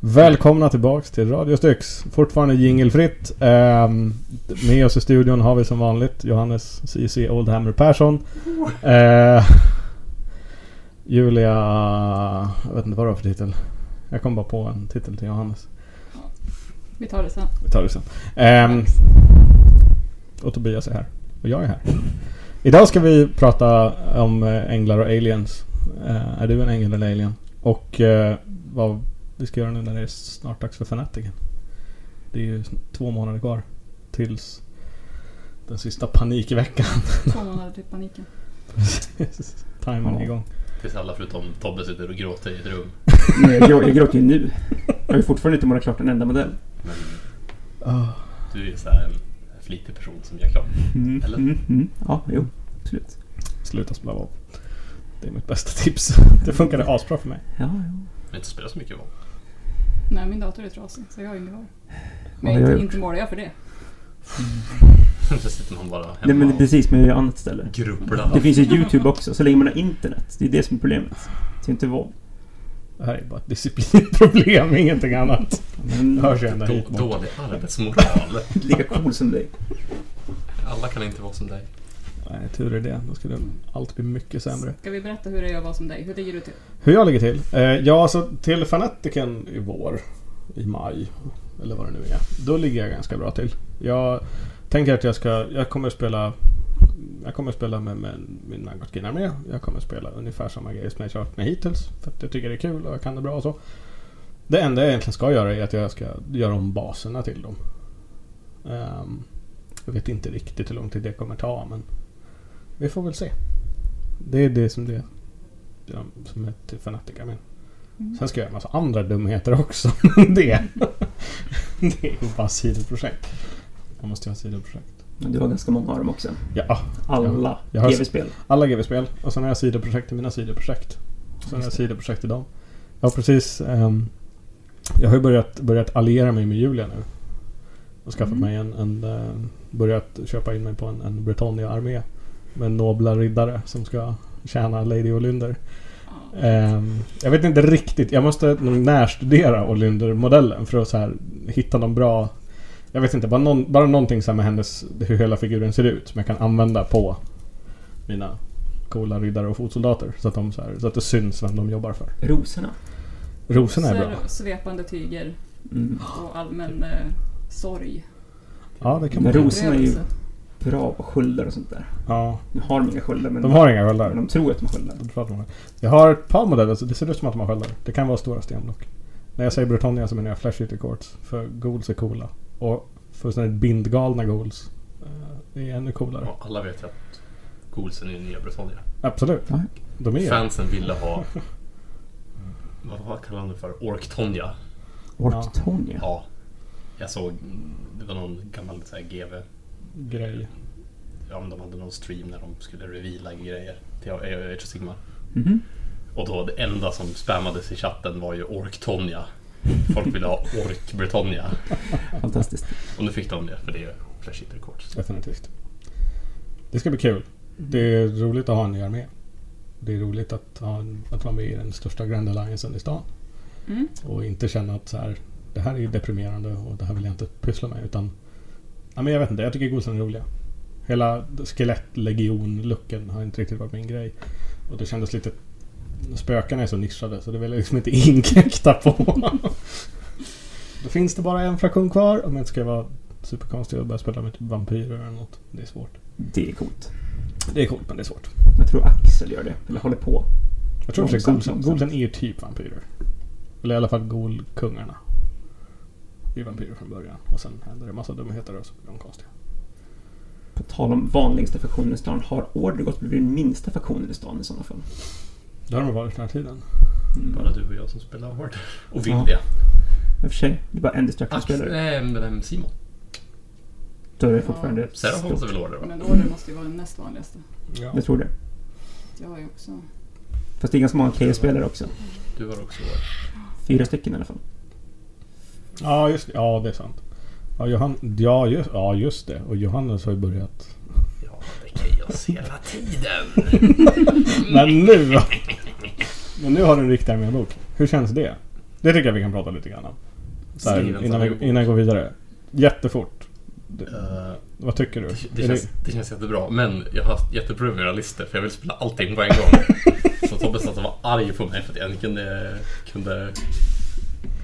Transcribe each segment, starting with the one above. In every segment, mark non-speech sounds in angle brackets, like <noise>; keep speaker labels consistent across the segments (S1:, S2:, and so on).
S1: Välkomna tillbaks till Radio Styx. Fortfarande jingelfritt. Ehm, med oss i studion har vi som vanligt Johannes CC Oldhammer <laughs> Persson. Ehm, Julia... Jag vet inte vad det var för titel. Jag kom bara på en titel till Johannes.
S2: Vi tar det sen.
S1: Vi tar det sen. Ehm, och Tobias är här. Och jag är här. Idag ska vi prata om eh, änglar och aliens. Eh, är du en ängel eller alien? Och eh, vad vi ska göra nu när det är snart dags för Fanatiken. Det är ju s- två månader kvar tills den sista panikveckan. <laughs>
S2: Två månader till paniken.
S1: Precis. Timern är
S3: Ja.
S1: igång.
S4: Tills alla förutom Tobbe sitter och gråter i ett rum.
S3: Nej, jag, grå- jag gråter ju nu. Jag har ju fortfarande inte målat klart en enda modell.
S4: Men
S1: Ah.
S4: du är så här en flitig person som gör klart.
S3: Mm,
S4: Eller?
S3: Mm, mm. Ja, jo. Absolut.
S1: Sluta spela av. Det är mitt bästa tips. Det funkade asbra för mig.
S3: Ja, ja.
S4: Men inte spelar så mycket val.
S2: Nej, min dator är trasig så jag har ingen val.
S3: Vad
S2: Men
S3: har jag
S2: inte,
S3: gjort?
S2: inte målar jag för det.
S4: Så sitter man bara hemma
S3: Nej, men det är
S4: och
S3: precis. Men jag gör ju annat ställe.
S4: grubblar.
S3: Det finns ju YouTube också. Så länge man har internet. Det är det som är problemet. Det är inte vad.
S1: Det här är bara ett disciplinproblem, <laughs> ingenting annat.
S3: Men
S1: Det hörs ju ända
S4: Då,
S1: hit bort.
S4: dålig arbetsmoral.
S3: lika cool som dig.
S4: Alla kan inte vara som dig.
S1: Nej, tur är det. Då skulle allt bli mycket sämre.
S2: Ska vi berätta hur det är jag var som dig? Hur ligger du till?
S1: Hur jag ligger till? Eh, ja, alltså till Fanatiken i vår, i maj, eller vad det nu är. Då ligger jag ganska bra till. Jag tänker att jag ska, jag kommer spela jag kommer spela med, med min Nagotkin med. Jag kommer spela ungefär samma grejer som jag kört med hittills. För att jag tycker det är kul och jag kan det bra och så. Det enda jag egentligen ska göra är att jag ska göra om baserna till dem. Ehm, jag vet inte riktigt hur lång tid det kommer ta men vi får väl se. Det är det som det det är de som är till fanatiker men.
S2: Mm.
S1: Sen ska jag göra en massa andra dumheter också. <laughs> det, det är ju bara sidoprojekt. Man måste ju ha sidoprojekt.
S3: Men du har ganska många av dem också.
S1: Ja,
S3: Alla
S1: Jag har-
S3: tv-spel.
S1: alla GV-spel. Och sen har jag sidoprojekt i mina sidoprojekt. Och sen har jag sidoprojekt i dem. Jag har precis... ehm, jag har ju börjat, börjat alliera mig med Julia nu. Och skaffat
S2: Mm.
S1: mig en... en eh, börjat köpa in mig på en, en Britannia-armé. Med nobla riddare som ska tjäna Lady Olynder.
S2: Ja.
S1: Ehm, jag vet inte riktigt. Jag måste nog närstudera Olynder-modellen för att så här, hitta någon bra... Jag vet inte, bara, någon, bara någonting så här med hennes... Hur hela figuren ser ut som jag kan använda på mina coola riddare och fotsoldater. Så att, de, så här, så att det syns vem de jobbar för.
S3: Rosorna.
S1: Rosorna är
S2: Rosor,
S1: bra.
S2: svepande tyger
S3: Mm.
S2: och allmän eh, sorg.
S1: Ja, det kan man
S3: Men
S1: göra.
S3: rosorna är ju-
S2: Upplevelse.
S3: Bra på sköldar och sånt där.
S1: Ja,
S3: Nu har de inga sköldar, men
S1: de har inga sköldar.
S3: men de tror att de har sköldar.
S1: De tror att de har. Jag har ett par modeller, så det ser ut som att de har sköldar. Det kan vara stora stenblock. När jag säger Britannia så menar jag Flash City Courts. För Ghouls är coola. Och fullständigt bindgalna Ghouls. eh, Det är ännu coolare.
S4: Och alla vet ju att Goolsen är nya Britannia.
S1: Absolut.
S3: Ja.
S1: De är ju...
S4: Fansen ville ha... Vad, vad kallar han det för? Orktonja.
S3: Orktonia.
S4: Ja. Jag såg... Det var någon gammal så här, GV
S1: grej.
S4: ja, men de hade någon stream när de skulle reveala grejer till Age of Sigma.
S3: Mhm.
S4: Och då det enda som spammades i chatten var ju Ork-Tonja. Folk ville ha Ork-Britannia.
S3: Fantastiskt.
S4: Och nu fick de det, för det är Flash Hitter Courts.
S1: Definitivt. Det ska bli kul. Det är roligt att ha en ny armé. Det är roligt att, ha, en- att vara med i den största Grand Alliancen i stan.
S2: Mm.
S1: Och inte känna att så här, det här är ju deprimerande och det här vill jag inte pyssla med. Utan, ja, men jag vet inte, jag tycker Gosen är roliga. Hela skelettlegion-looken har inte riktigt varit min grej. Och det kändes lite... Spökarna är så nischade så det vill jag liksom inte <laughs> inkräkta på. <laughs> Då finns det bara en fraktion kvar om jag inte ska vara superkonstig och börja spela med typ vampyrer eller något. Det är svårt.
S3: Det är coolt.
S1: Det är coolt men det är svårt.
S3: Jag tror Axel gör det. Eller håller på.
S1: Jag tror också att
S3: Långsamt,
S1: Golsen,
S3: långsamt.
S1: Golsen är ju typ vampyrer. Eller i alla fall Golkungarna. Det är vampyrer från början och sen händer det massa dumheter och så blir de konstiga.
S3: På tal om vanligaste faktionen i stan. Har Ordergott blivit den minsta faktionen i stan i sådana fall?
S1: Det har de varit den här tiden.
S4: Mm. Bara du och jag som spelar hårt. Och
S3: Ja.
S4: Vilja.
S3: I och för sig, det är bara en
S4: Axel,
S3: destruction-spelare.
S4: nej, men Ehm, vem, Simon.
S3: Då är det fortfarande
S4: Serafons är
S3: stort.
S4: väl order va?
S2: Men order måste ju vara den näst vanligaste.
S1: Ja.
S3: Jag tror det.
S2: Jag har ju också...
S3: Fast det är ganska många KS-spelare också.
S4: Du har också order.
S3: Fyra stycken i alla fall.
S1: Ja, just det. Ja, det är sant. Ja, Johan, ja, just, ja, just det. Och Johannes har ju börjat.
S4: Ja, det kan jag se hela tiden.
S1: Men nu! Men nu har du en riktig armébok. Hur känns det? Det tycker jag vi kan prata lite grann om. Så här,
S4: Skriven
S1: innan, vi,
S4: som-
S1: innan vi går vidare. Jättefort. Det,
S4: Eh,
S1: vad tycker du?
S4: det, det,
S1: Är
S4: känns, det känns jättebra, men jag har haft jätteproblem med era listor för jag vill spela allting på
S1: <laughs>
S4: en gång. Så Tobbe satt och var arg på mig för att jag inte kunde, kunde,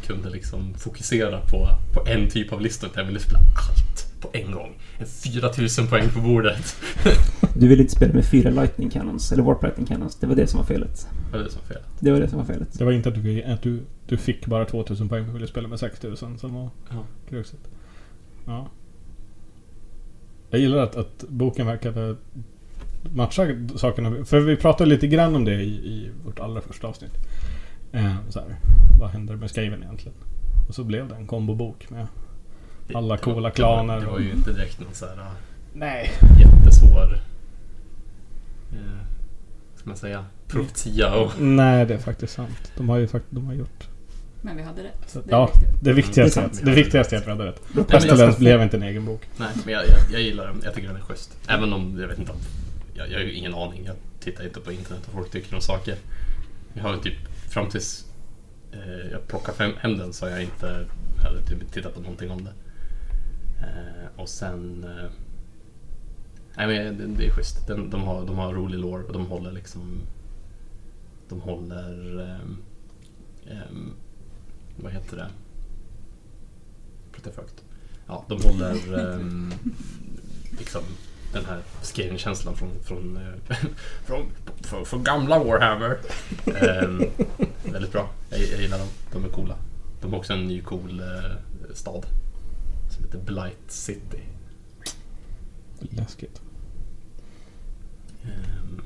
S4: kunde liksom fokusera på, på en typ av listor. utan Jag ville spela allt på en gång. En 4000 poäng på bordet.
S3: Du ville inte spela med fyra Lightning Cannons, eller Warp Lightning Cannons. Det var det som var felet.
S4: Vad är det som är fel?
S3: Det var det som var felet.
S1: Det var inte att du, att du, du fick bara 2000 poäng för att du ville spela med 6000 som var
S4: Ja.
S1: kruxet. Ja. Jag gillar att, att boken verkade matcha sakerna. För vi pratade lite grann om det i, i vårt allra första avsnitt. Eh, så här, vad händer med Skaven egentligen? Och så blev det en kombobok med...
S4: Det-
S1: Alla
S4: det var-
S1: coola
S4: det var-
S1: klaner
S4: Det var
S1: och-
S4: ju inte direkt någon så här eh,
S1: Nej.
S4: jättesvår... Eh, ska man säga? Profetia och...
S1: Nej, det är faktiskt sant. De har ju fakt- de har gjort...
S2: Men vi hade rätt. Det är
S1: Ja,
S2: viktigt.
S1: det viktigaste är att- det viktigaste är att vi hade rätt. Pestilens blev inte en egen bok.
S4: Nej, men jag, jag, jag gillar den. Jag tycker den är schysst. Även om, jag vet inte, om- jag, jag har ju ingen aning. Jag tittar inte på internet och folk tycker om saker. Jag har ju typ, fram tills eh, jag plockade hem, hem den så har jag inte jag hade typ tittat på någonting om det. Eh, och sen... Eh, nej men jag- det, det är schysst. Den, de, har, de har rolig lår och de håller liksom... De håller... ehm, ehm, vad heter det? Pratar jag för högt? Ja, de håller ehm, liksom den här skaven-känslan från, från, eh, från, från, från gamla Warhammer. Ehm, väldigt bra. Jag, jag gillar dem. De är coola. De har också en ny cool eh, stad som heter Blight City.
S1: Läskigt.
S4: Ehm,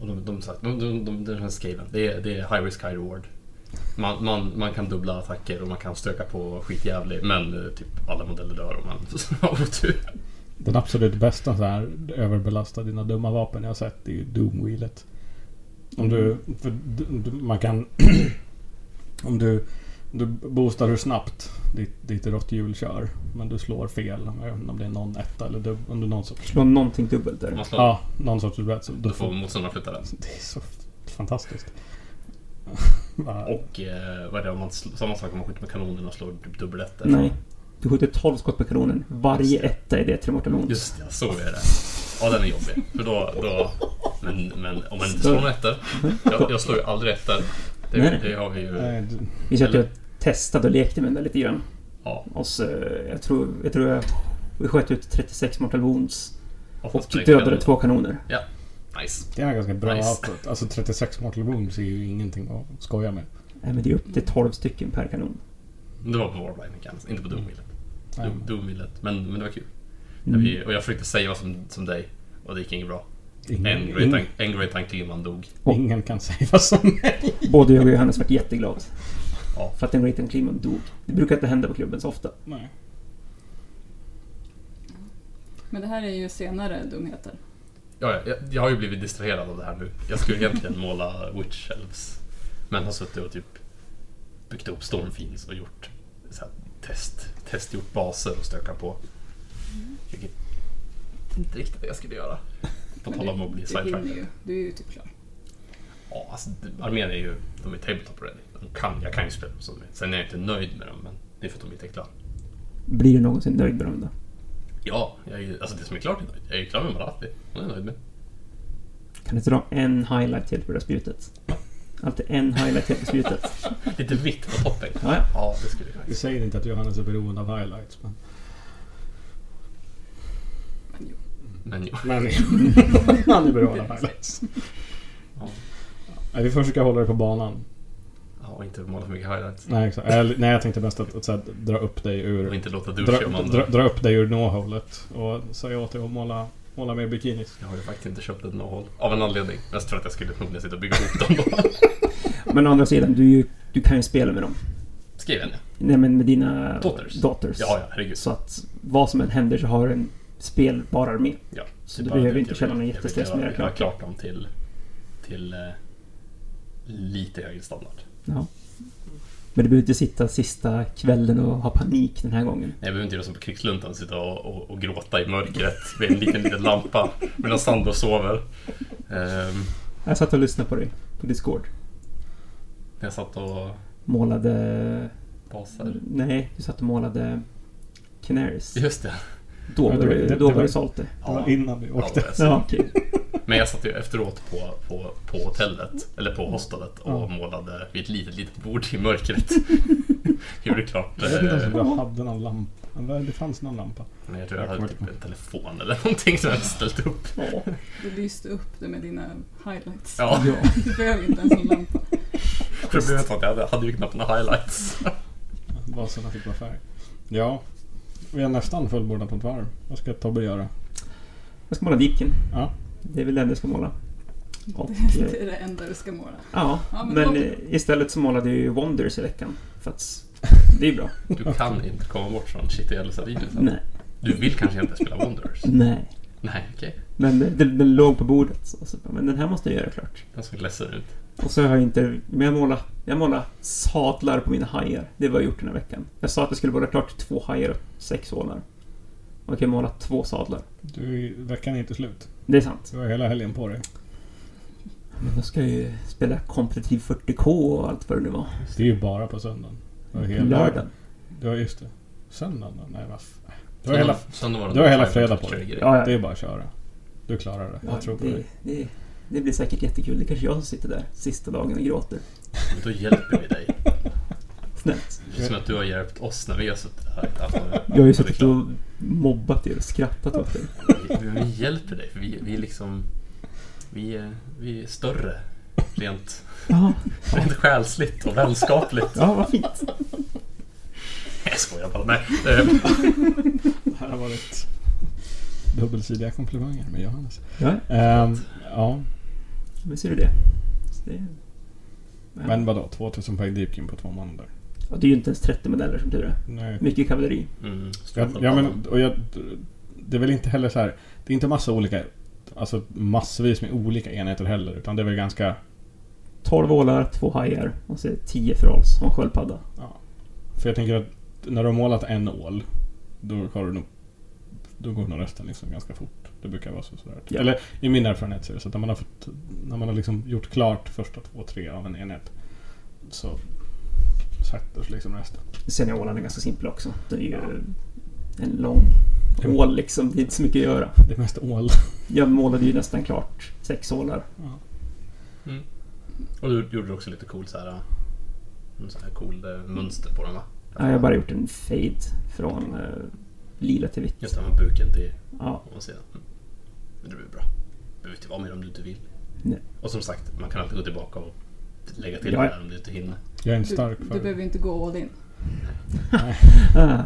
S4: och de, de, sagt- de, de, de, den här skaven, det är, det är high risk high reward. Man, man, man kan dubbla attacker och man kan stöka på skitjävlig men eh, typ alla modeller dör om man <laughs> har otur.
S1: Den absolut bästa så här överbelasta dina dumma vapen jag har sett är ju Doomwheelet. Om du...
S4: Mm.
S1: För d- d- man kan... <clears throat> om du... Du boostar hur snabbt ditt, ditt råtthjul kör. Men du slår fel. Jag vet inte om det är någon etta eller du, om du någon sorts...
S3: Slå någonting dubbelt
S4: Om
S3: där.
S4: Man slår,
S1: Ja, någon sorts rätt. så
S4: Då
S1: Då
S4: får
S1: får,
S4: motståndaren flytta den.
S1: det är så fantastiskt. <laughs> Va-
S4: Och eh, vad är det, om man sl- samma sak om man skjuter med kanonen och slår typ dubbeletter.
S3: Nej. Du skjuter 12 skott med kanonen. Varje etta är det tre mortal wounds.
S4: Just ja, så är det. Ja, den är jobbig. För då, då, men, men om man inte slår med ettor. Jag, jag slår ju aldrig ettor. Det,
S3: Nej.
S4: det har vi ju.
S1: Nej, d-
S3: Vi att jag testade och lekte med den där lite grann.
S4: Ja,
S3: Och så, eh, jag tror jag... Tror jag vi sköt ut 36 mortal wounds och typ
S4: oftast blir det
S3: dödade
S4: kanonen.
S3: två kanoner.
S4: Nice.
S1: det är ganska bra
S4: Nice.
S1: output. Alltså 36 mortal wounds är ju ingenting att skoja med.
S3: Nej, Äh, men det är upp till 12 stycken per kanon.
S4: Det var på Warblind kanske, inte på Doomwheelet.
S1: Nej,
S4: Doom- Doomwheelet, men, men det var kul.
S3: Mm.
S4: Vi, och jag försökte säga som, som dig och det gick inget bra. En
S1: ingen,
S4: Great
S1: ingen,
S4: Ang- en Great Angliman dog.
S1: ingen kan säga vad som
S3: Mm. Både jag och Johannes vart jätteglada.
S4: Ja.
S3: För att den Great Cleman dog. Det brukar inte hända på klubben så ofta.
S1: Nej.
S2: Men det här är ju senare dumheter.
S4: Ja, ja, jag, jag har ju blivit distraherad av det här nu. Jag skulle <laughs> egentligen måla Witch Elves. Men har suttit och typ byggt upp Stormfiends och gjort så här, test, testgjort baser och stökat på. Vilket Mm. inte riktigt vad jag skulle göra. På
S2: Men
S4: tal
S2: du-
S4: om att bli
S2: du, hinner
S4: sidetrackad.
S2: ju. du är ju typ klar.
S4: Ja, alltså, det- armén är ju, de är tabletop ready. De kan, jag kan ju spela dem som de är. Sen är jag inte nöjd med dem, men det är för att de inte är klara.
S3: Blir du någonsin nöjd med dem då?
S4: Ja, jag är, ju- alltså det som är klart är nöjd. Jag är ju klar med Marathi. Hon är jag nöjd med.
S3: Kan du inte dra en highlight till på det här spjutet? Alltid en highlight till på spjutet.
S4: Lite vitt på toppen.
S3: Ja, ja.
S4: Ja, det skulle jag kunna
S1: Vi säger inte att Johannes är beroende av highlights, men...
S2: Men jo.
S4: Men jo. <laughs>
S1: Men han är beroende av highlights.
S4: Ja.
S1: Nej, vi får försöka hålla det på banan.
S4: Ja, och inte måla för mycket highlights.
S1: Nej, exakt. Eller, nej jag tänkte mest att, att så här, dra upp dig
S3: Mm.
S4: Och
S1: ur...
S4: inte låta du
S1: Dra,
S4: köra om
S1: dra,
S4: andra.
S1: dra upp dig ur nåhålet och säga åt dig att måla, måla mer bikinis.
S4: Jag har ju faktiskt inte köpt ett no-hål. Av en anledning. Mest för att jag skulle förmodligen sitta och bygga ihop dem
S3: <laughs>
S4: då.
S3: Men å andra sidan, du, är ju- du kan ju spela med dem.
S4: Skriv en ja.
S3: Nej, men med dina
S4: Daughters.
S3: daughters.
S4: Ja, ja, herregud.
S3: Så att vad som än händer så har du en spelbar armé.
S4: Ja.
S3: Så
S4: det
S3: du
S4: är bara
S3: behöver
S4: det att
S3: inte
S4: jag
S3: känna
S4: vill-
S3: någon
S4: jag vill
S3: jättestress
S4: göra-
S3: med det
S4: Jag har
S3: klart.
S4: klart dem till, till eh, lite högre standard.
S3: Ja. Men du behöver inte sitta sista kvällen och ha panik den här gången.
S4: Nej, Jag behöver inte göra som på krigsluntan, sitta och, och, och gråta i mörkret med en liten,
S3: <laughs>
S4: liten lampa medan Sandro sover. Ehm,
S3: Jag satt och lyssnade på dig på Discord.
S4: När jag satt och
S3: Målade...
S4: basade.
S3: Nej, du satt och målade Canaries.
S4: Just det.
S3: Då
S1: Ja,
S3: var
S1: det-
S3: du,
S1: det-
S3: då
S1: det
S3: var
S1: var-
S3: du sålt det.
S1: Det var innan vi åkte.
S4: Ja, det var så.
S3: Ja, <laughs> okej.
S4: Men jag satt ju efteråt på, på, på hotellet, eller på hostelet och
S1: Ja.
S4: målade vid ett litet, litet bord i mörkret. Gjorde klart.
S1: Jag vet inte ens
S4: eh,
S1: om jag hade någon lampa. Men Det fanns någon lampa.
S4: Men jag tror jag
S1: Jag
S4: hade
S1: kommer
S4: typ
S1: inte
S4: en telefon eller någonting som jag hade ställt upp.
S3: Ja.
S2: Du lyste upp det med dina highlights.
S4: Ja,
S3: Ja.
S2: <laughs> Du behöver inte ens en
S4: <laughs>
S2: lampa.
S4: problemet var att jag hade, hade ju knappt några highlights.
S1: Bara sådana typer av färg. Ja. Vi har nästan fullbordat på ett varv. Vad ska Tobbe göra?
S3: Jag ska måla viken.
S1: Ja.
S3: Det är väl den jag ska måla.
S2: <laughs>
S3: Och,
S2: Det,
S3: eh,
S2: det är det enda du ska måla.
S3: ja,
S2: Ja, men då-
S3: men eh, istället så målade jag ju Wonders i veckan. För att s- det är ju bra.
S4: Du kan inte komma bort från Shitty Elsa-videon sen.
S3: Nej.
S4: Du vill kanske inte spela Wonders?
S3: Nej.
S4: Nej, okej.
S3: Men eh, den, den låg på bordet. Så, så, men den här måste jag göra klart.
S4: Den såg ledsen ut.
S3: Och så har jag inte... Men jag målade, jag målade sadlar på mina hajar. Det är vad jag gjort den här veckan. Jag sa att jag skulle måla klart två hajar och sex ålar. Och jag kan måla två sadlar.
S1: Du, veckan är inte slut.
S3: Det är sant.
S1: Du har hela helgen på dig.
S3: Men då ska jag ju spela kompetitiv 40K och allt vad det nu var.
S1: Det är ju bara på söndagen. Du har hela...
S3: Lördagen.
S1: Ja, just det. Söndagen då? Nej, vad f- Du har
S4: Söndag-
S1: hela...
S4: söndag var det
S1: du har
S4: någon
S1: hela
S4: Fire
S1: fredag på
S4: Picture
S1: dig.
S4: grej.
S3: Ja,
S1: Det är bara att köra. Du klarar det. Jag tror på
S3: det,
S1: dig.
S3: det, det blir säkert jättekul. Det kanske jag som sitter där sista dagen och gråter.
S4: Men då hjälper vi dig.
S3: Snällt.
S4: Det är som att du har hjälpt oss när vi har suttit här. Alltså,
S3: Jag har ju
S4: det är
S3: suttit
S4: klart.
S3: och mobbat er och skrattat åt er.
S4: Vi, vi hjälper dig, för vi, vi är liksom... Vi, är- vi är större. Rent,
S3: <laughs> Ja,
S4: rent själsligt
S3: <laughs>
S4: och vänskapligt.
S3: ja vad fint.
S4: Jag skojar bara. Nej. eh,
S1: Det här har varit dubbelsidiga komplimanger med Johannes.
S3: Ja,
S1: Ehm, ja,
S3: men ser du det. Så det
S1: men vadå? 2000 poäng deepkin på två månader.
S3: Ja, det är ju inte ens 30 modeller som tur är.
S1: Nej.
S3: Mycket kavalleri.
S4: Mm,
S1: Ja, ja, men, och jag, det är väl inte heller så här... Det är inte massa olika... Alltså massvis med olika enheter heller. Utan det är väl ganska...
S3: 12 ålar, två hajar och så 10 förhålls och en sköldpadda.
S1: För jag tänker att när du har målat en ål, då har du nog... Då går nog resten liksom ganska fort. Det brukar vara så sådär.
S3: Ja.
S1: Eller i min erfarenhet så är det så att när man har, fått, när man har liksom gjort klart första två, tre av en enhet så sätter sig liksom resten.
S3: Sen är ålarna ganska simpla också. Det är ju en lång ål liksom. Det är inte så mycket att göra.
S1: Det är mest ål.
S3: Jag målade ju nästan klart sex ålar.
S4: Och du gjorde också lite cool så här... eh, En sån här cool eh, mönster på den va?
S3: Ja, jag har bara gjort en fade från eh, lila till vitt.
S4: Just det, med buken till
S3: Ja,
S4: ovansidan. Mm. Men det blir bra. Du behöver inte vara med om du inte vill.
S3: Nej.
S4: Och som sagt, man kan alltid gå tillbaka och lägga till
S3: Ja.
S4: det där om du inte hinner.
S1: Jag är en
S2: Du,
S1: stark
S2: du
S1: för
S2: behöver inte gå all in.
S3: ah,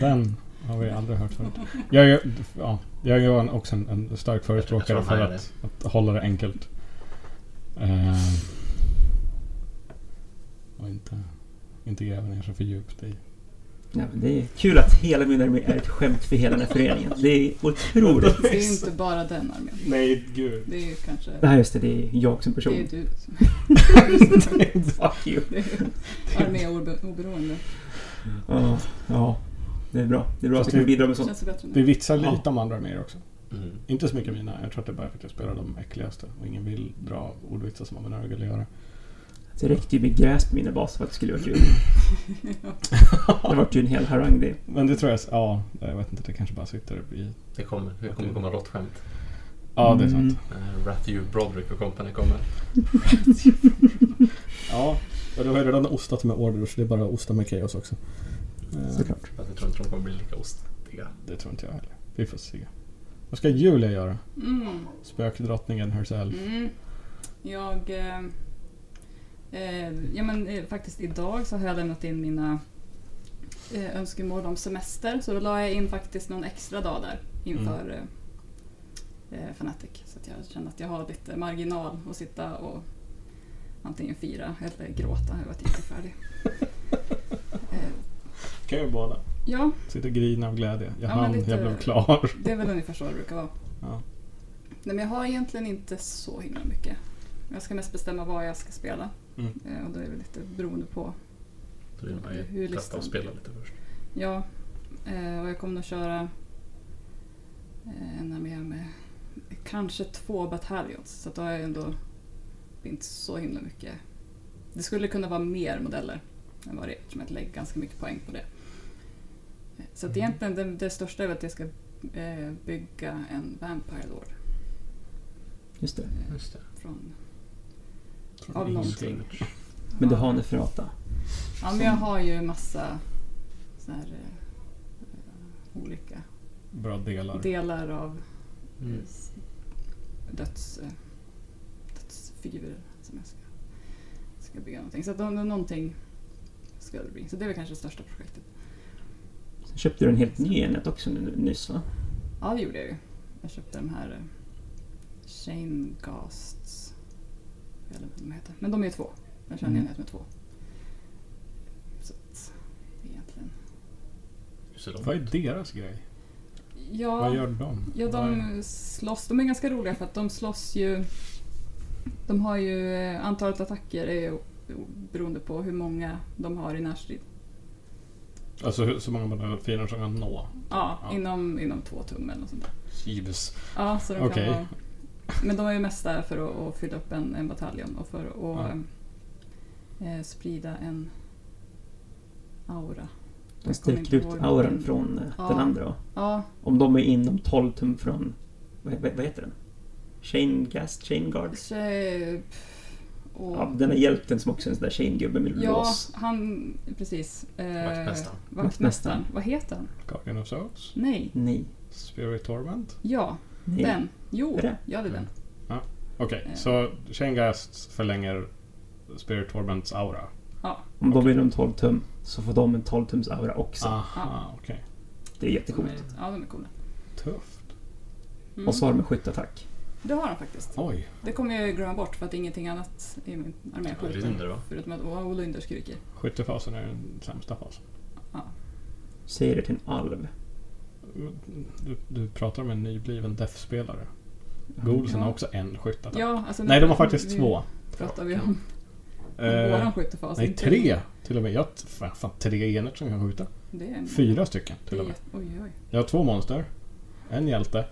S1: Den har vi aldrig hört förut. Jag är, ja, jag är en- också en, en stark förespråkare
S4: Jag tror
S1: för
S4: han är
S1: att, att hålla det enkelt. Ehm. och inte, inte gräva ner sig för djupt i
S3: ja, men det är kul att hela min armé är ett skämt för hela den här föreningen. Det är
S2: <laughs>
S3: otroligt.
S2: Det är ju inte bara den armén.
S1: Nej, gud.
S2: Det är ju kanske...
S3: Nej, just det. Det är jag som
S2: Det är
S3: person.
S2: du som... <laughs> det är
S3: Fuck you.
S2: arméoberoende.
S3: Ja, ja, det är bra. Det är bra att
S1: Fast
S3: vi kan
S1: det-
S3: bidra med sånt.
S2: Känns det bättre nu?
S1: Vi
S2: <laughs>
S1: vitsar lite
S3: Ja.
S1: om andra arméer också.
S4: Mm.
S1: Inte så mycket mina. Jag tror att det är bara för att jag spelar de äckligaste. Och ingen vill dra ordvitsar som man vill göra.
S3: Det räckte ju med gräs på mina baser för att det skulle vara kul. <laughs> Det typ- vart ju en hel harang det.
S1: Men det tror jag... Ja, jag vet inte. Det kanske bara sitter i...
S4: Det kommer. Det kommer komma råttskämt.
S1: Ja, det är sant.
S3: Mm.
S4: Eh, Rathew Broderick och company kommer.
S1: Ja, och du har ju redan ostat med order så det är bara att osta med chaos också. Eh,
S3: Såklart.
S4: Fast jag tror inte de kommer bli lika ostiga.
S1: Det tror inte jag heller. Vi får se. Vad ska Julia göra?
S2: Mm.
S1: Spökdrottningen herself.
S2: Mm. Jag... Eh, eh, ja, men, eh, faktiskt idag så har jag lämnat in mina eh, önskemål om semester. Så då la jag in faktiskt någon extra dag där inför
S1: Mm.
S2: eh, eh, Fanatic. Så att jag känner att jag har lite marginal att sitta och antingen fira eller gråta över att jag inte är färdig. eh,
S1: Kan ju båda.
S2: ja,
S1: Sitter och grina av glädje. Jag
S2: Ja, men
S1: hann,
S2: lite-
S1: jag blev
S2: <laughs>
S1: klar.
S2: det är väl ungefär så det brukar vara.
S1: Ja.
S2: Nej, men jag har egentligen inte så himla mycket. Jag ska mest bestämma vad jag ska spela.
S1: Mm.
S2: Eh, och då är det lite beroende på.
S4: Så vill man
S2: Hur
S4: ju testa
S2: listan-
S4: och spela lite först.
S2: Ja, eh, och jag kommer nog köra eh, en armé med kanske två bataljoner. Så att då har jag ändå inte så himla mycket Det skulle kunna vara mer modeller än vad det är eftersom jag lägger ganska mycket poäng på det. Eh, Så
S3: Mm.
S2: att egentligen det, det största är väl att jag ska eh, bygga en Vampire Lord
S3: Just det.
S2: eh,
S4: Just det.
S2: från...
S1: Från
S2: Av
S1: ingenting.
S2: någonting.
S4: typ.
S3: Men du har Neferata.
S2: Ja, men jag har ju massa så här, eh, eh, olika
S1: Bra delar.
S2: delar av
S4: Mm.
S2: s- döds, eh, dödsfigurer som jag ska, ska bygga någonting. Så att nå- någonting ska det bli. Så det är väl kanske det största projektet.
S3: Sen köpte du en helt ny enhet också nu, nyss va?
S2: Ja, det gjorde jag ju. Jag köpte de här eh, Shane Ghasts, eller vad de heter. Men de är två. Jag kör en
S3: Mm.
S2: enhet med två. Så att, egentligen.
S4: Så de-
S1: Vad är deras grej?
S2: Ja,
S1: Vad gör de?
S2: Ja,
S1: Vad är-
S2: de slåss. De är ganska roliga för att de slåss ju... De har ju... eh, Antalet attacker är ju o- beroende på hur många de har i närstrid.
S1: Alltså hur- så många modeller fiender som kan nå.
S2: Ja,
S1: Ja.
S2: Inom, inom två tum eller något sånt där.
S1: Jesus.
S2: Ja, så de
S1: Okej.
S2: kan vara... Men de är ju mest där för att, att fylla upp en, en bataljon och för
S1: Ja.
S2: att eh, sprida en aura.
S3: De
S2: kommer inte
S3: sträcker ut
S2: ihåg
S3: auran
S2: vilken.
S3: från eh,
S2: Ja.
S3: den andra va?
S2: Ja,
S3: Om de är inom 12 tum från... Vad, vad, vad heter den? Shane Gas? Shane Guards?
S2: shape eh, och...
S3: Ja, den där hjälten som också är en sån där Shane-gubbe med
S2: Ja,
S3: lås.
S2: han... Precis. Eh,
S4: Vaktmästaren.
S2: Vaktmästaren. Vad heter han?
S1: Guardian of Souls.
S2: Nej.
S3: Nej.
S1: Spirit Torment.
S2: Ja,
S3: Nej.
S2: den. Jo,
S3: Är det?
S2: ja det är den.
S1: Okej,
S2: Eh.
S1: så Shengast förlänger Spirit Torments aura.
S3: Om de är inom 12 tum så får de en 12 tums aura också.
S1: Ah. Aha, okej.
S3: Det är jättecoolt.
S2: Ja, de är coola.
S1: Tufft.
S2: Mm.
S3: Och så har de en skyttattack.
S2: Det har de faktiskt.
S1: Oj.
S2: Det kommer jag ju glömma bort för att ingenting annat i min armé
S4: Ja, det är
S2: skjuter.
S4: under va?
S2: Förutom att Ola Olunder skriker.
S1: Skyttefasen är den sämsta fasen.
S3: Säger det till en alv.
S1: Du, du pratar om en nybliven def-spelare. Golsen
S2: Ja.
S1: har också en skyttattack.
S2: Ja, alltså, nu-
S1: Nej, de har faktiskt
S2: nu
S1: två.
S2: pratar vi om
S1: Eh,
S2: <laughs> våran skyttefas.
S1: nej,
S2: inte-
S1: tre till och med. Jag har t- fan, fan, tre enheter som kan skjuta.
S2: Det är en,
S1: Fyra stycken
S2: det
S1: till
S2: är
S1: och med.
S2: jätte- Oj, oj.
S1: Jag har två monster, en hjälte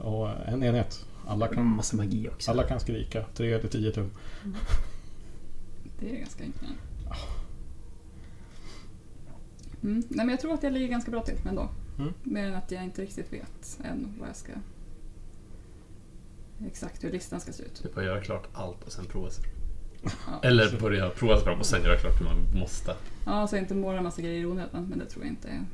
S1: och en enhet. Alla
S3: De har
S1: kan,
S3: massa magi också.
S1: alla kan skrika. Tre eller tio tum.
S2: Det är ganska imponerande.
S1: Ah.
S2: Mm. Nej, men jag tror att jag ligger ganska bra till ändå.
S1: Mm.
S2: Mer än att jag inte riktigt vet än vad jag ska... Exakt hur listan ska se ut.
S4: Det är bara Typ att göra klart allt och sen prova sig fram.
S2: Ja.
S4: Eller börja prova sig fram och sen göra klart hur man måste.
S2: Ja, så inte måla en massa grejer i onödan, men det tror jag inte
S4: Mm.
S2: är.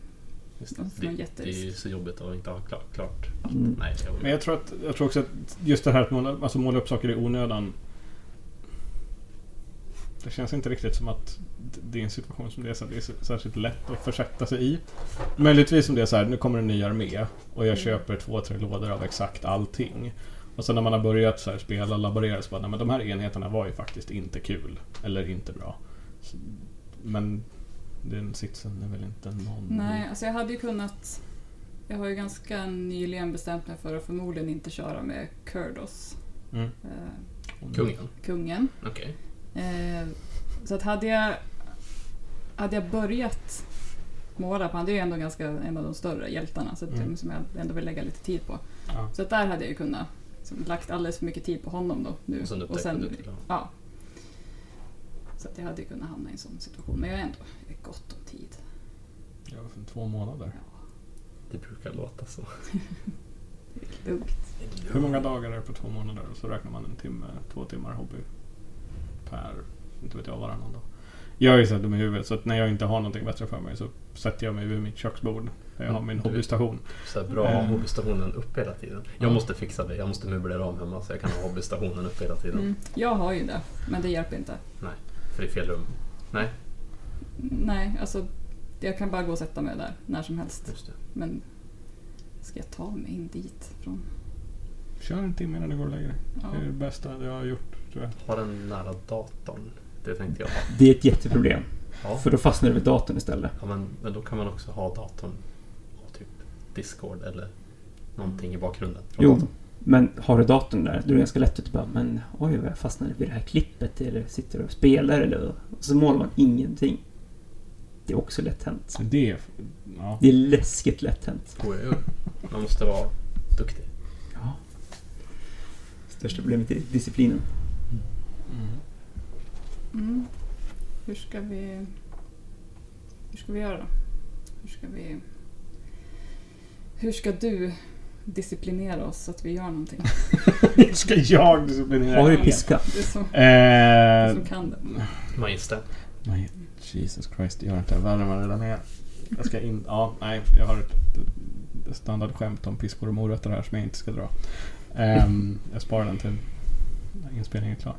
S4: Just
S2: Och så
S4: det.
S2: någon
S4: Det, det är ju
S2: jätterisk.
S4: så jobbigt att inte ha klart, klart allt.
S3: Mm.
S4: Nej, jag,
S1: Men jag tror, att, jag tror också att just det här att måla, alltså måla upp saker i onödan. Det känns inte riktigt som att det är en situation som det är, så, det är så, särskilt lätt att försätta sig i. Möjligtvis om det är så här, nu kommer en ny armé och jag
S2: Mm.
S1: köper två, tre lådor av exakt allting. Och sen när man har börjat så här spela och laborera så bara, nej men de här enheterna var ju faktiskt inte kul. Eller inte bra. Så, men den sitsen är väl inte någon...
S2: Nej, alltså jag hade ju kunnat... Jag har ju ganska nyligen bestämt mig för att förmodligen inte köra med Kurdos,
S1: Mm.
S2: eh,
S4: kungen.
S2: kungen.
S4: Okej.
S2: Eh, så att hade jag, hade jag börjat måla på, han är ju ändå ganska, en av de större hjältarna så att,
S1: Mm.
S2: som jag ändå vill lägga lite tid på.
S1: Ja.
S2: Så att där hade jag ju kunnat liksom, lagt alldeles för mycket tid på honom då nu.
S4: Och sen
S2: Mm. och
S4: upptäckte
S2: sen,
S4: du det. då.
S2: ja. Så att jag hade ju kunnat hamna i en sån situation. Men jag har ändå gott om tid.
S1: Det var för två månader.
S4: Det brukar låta så.
S2: Lugnt.
S1: Hur många dagar är det på två månader? Och så räknar man en timme, två timmar hobby per, inte vet jag, varannan dag. Jag är ju så här dum i huvudet så att när jag inte har någonting bättre för mig så sätter jag mig vid mitt köksbord där jag har min
S4: Mm, du vet.
S1: hobbystation.
S4: Så här bra att ha
S1: Mm.
S4: hobbystationen uppe hela tiden. Jag
S1: Ja.
S4: måste fixa det. Jag måste möblera om hemma så jag kan ha hobbystationen uppe hela tiden.
S2: Mm. Jag har ju det, men det hjälper inte.
S4: För det är fel rum. Nej,
S2: Nej, alltså jag kan bara gå och sätta mig där när som helst.
S4: just det.
S2: Men ska jag ta mig in dit från...
S1: Kör en timme innan du går och lägger dig.
S2: Ja.
S1: Det är det bästa jag har gjort tror jag.
S4: Ha den nära datorn. Det tänkte jag ha.
S3: Det är ett jätteproblem.
S4: Ja,
S3: För då fastnar du vid datorn istället.
S4: ja men, men då kan man också ha datorn och typ Discord eller någonting i bakgrunden. från
S3: Jo,
S4: datorn.
S3: men har du datorn där, då är det ganska lätt att du bara men oj vad jag fastnade vid det här klippet eller sitter och spelar eller och så målar man ingenting. Det är också lätt hänt.
S1: Det, är- ja.
S3: Det är läskigt lätt hänt.
S4: Oj, oj, oj. Man måste vara duktig.
S3: Ja. Största problemet är disciplinen.
S1: Mm.
S2: Mm. Hur ska vi... Hur ska vi göra då? Hur ska vi... Hur ska du disciplinera oss så att vi gör någonting?
S1: <laughs> Ska jag disciplinera?
S3: Har vi piska?
S2: Du som, du
S1: Eh,
S2: som kan det.
S4: Magister.
S1: nej, Jesus Christ, gör inte det värre än vad det redan är. Jag ska in... Ja, nej. Jag har ett ett standardskämt om piskor och morötter här som jag inte ska dra. Ehm, jag sparar den till när inspelningen är klar.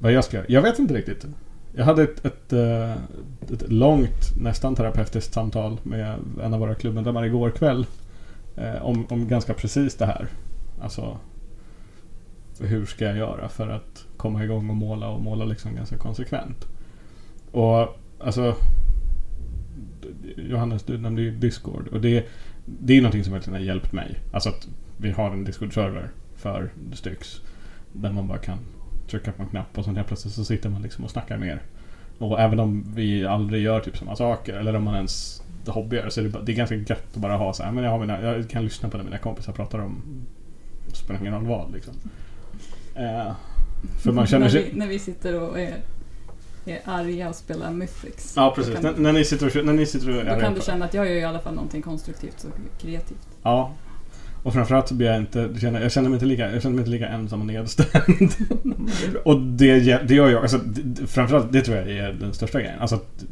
S1: Vad jag ska göra? Jag vet inte riktigt. Jag hade ett, ett, eh, ett långt, nästan terapeutiskt samtal med en av våra klubbmedlemmar igår kväll. eh, Om, om ganska precis det här. Alltså, hur ska jag göra för att komma igång och måla och måla liksom ganska konsekvent? Och alltså, Johannes, du nämnde ju Discord och det, det är ju någonting som verkligen har hjälpt mig. Alltså att vi har en Discord-server för Styx där man bara kan trycka på en knapp och sen helt plötsligt så sitter man liksom och snackar mer. Och även om vi aldrig gör typ samma saker eller om man ens hobbyar så är det, bara- det är ganska gött att bara ha så här, men jag, har mina, jag kan lyssna på när mina kompisar pratar om spelar ingen roll vad liksom. Eh, för
S2: <laughs>
S1: man känner sig...
S2: när, vi, när vi sitter och är, är arga och spelar Mythics.
S1: Ja, precis.
S2: Då kan,
S1: N- när ni sitter och... När ni sitter och
S2: då kan du känna att jag gör i alla fall någonting konstruktivt och kreativt.
S1: Ja. Och framförallt så blir jag inte... Jag känner, jag känner, mig, inte lika, jag känner mig inte lika ensam och nedstämd. <laughs> och det, gör- det gör jag... Alltså, det- det, framförallt det tror jag är den största grejen. Alltså att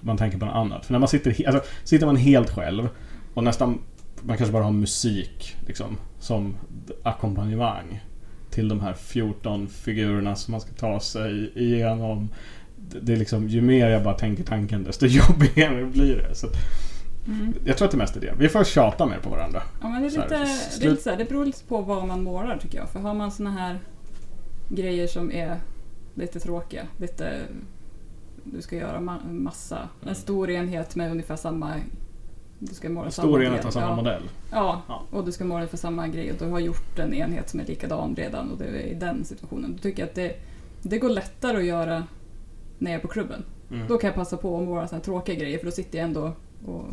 S1: man tänker på något annat. För när man sitter, he- alltså, sitter man helt själv och nästan... Man kanske bara har musik liksom, som ackompanjemang till de här 14 figurerna som man ska ta sig igenom. Det- Det är liksom, ju mer jag bara tänker tanken desto <laughs> jobbigare blir det. Så att, jag tror att det mest är det. Vi får tjata mer på varandra.
S2: Mm. Ja, men det, är
S1: Så här,
S2: lite, det, är
S1: slut-
S2: lite så här, det beror lite på vad man målar tycker jag. För har man såna här grejer som är lite tråkiga, lite du ska göra ma- massa,
S1: Mm.
S2: en stor enhet med ungefär samma du ska måla samma
S1: Stor enhet
S2: del.
S1: av samma
S2: ja.
S1: modell.
S2: Ja,
S1: Ja.
S2: och du ska måla för samma grej och du har gjort en enhet som är likadan redan och det är i den situationen. Då tycker jag att det, det går lättare att göra när jag är på klubben.
S1: Mm.
S2: Då kan jag passa på att måla såna här tråkiga grejer för då sitter jag ändå och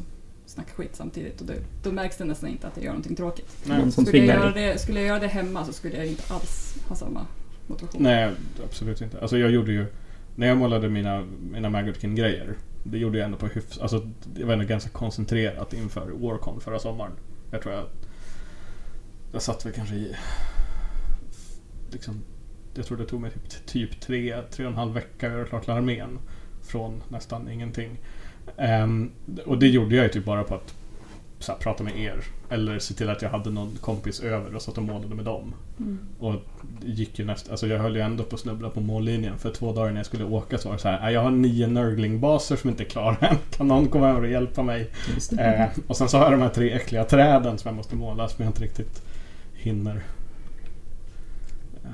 S2: snackar skit samtidigt och det, då märks det nästan inte att jag gör någonting tråkigt.
S1: Nej.
S3: Någon som
S2: Skulle jag, göra
S3: tvingar dig.
S2: det, skulle jag göra det hemma så skulle jag inte alls ha samma motivation.
S1: Nej, absolut inte. Alltså jag gjorde ju... När jag målade mina, mina Magotkin-grejer. Det gjorde jag ändå på hyfs... Alltså det var ändå ganska koncentrerat inför Warcon förra sommaren. Jag tror jag... Jag satt väl kanske i... Liksom... Jag tror det tog mig typ, typ tre, tre och en halv vecka att göra klart armén. Från nästan ingenting. Ehm, och det gjorde jag ju typ bara på att så här, prata med er. Eller se till att jag hade någon kompis över och satt och målade med dem.
S2: Mm.
S1: Och det gick ju nästan, alltså jag höll ju ändå på att snubbla på mållinjen för två dagar när jag skulle åka så var det så här, "Nej, jag har nio nörglingbaser som inte är klara än. Kan någon komma över och hjälpa mig?
S3: Just det.
S1: Eh, och sen så har jag de här tre äckliga träden som jag måste måla som jag inte riktigt hinner. Eh,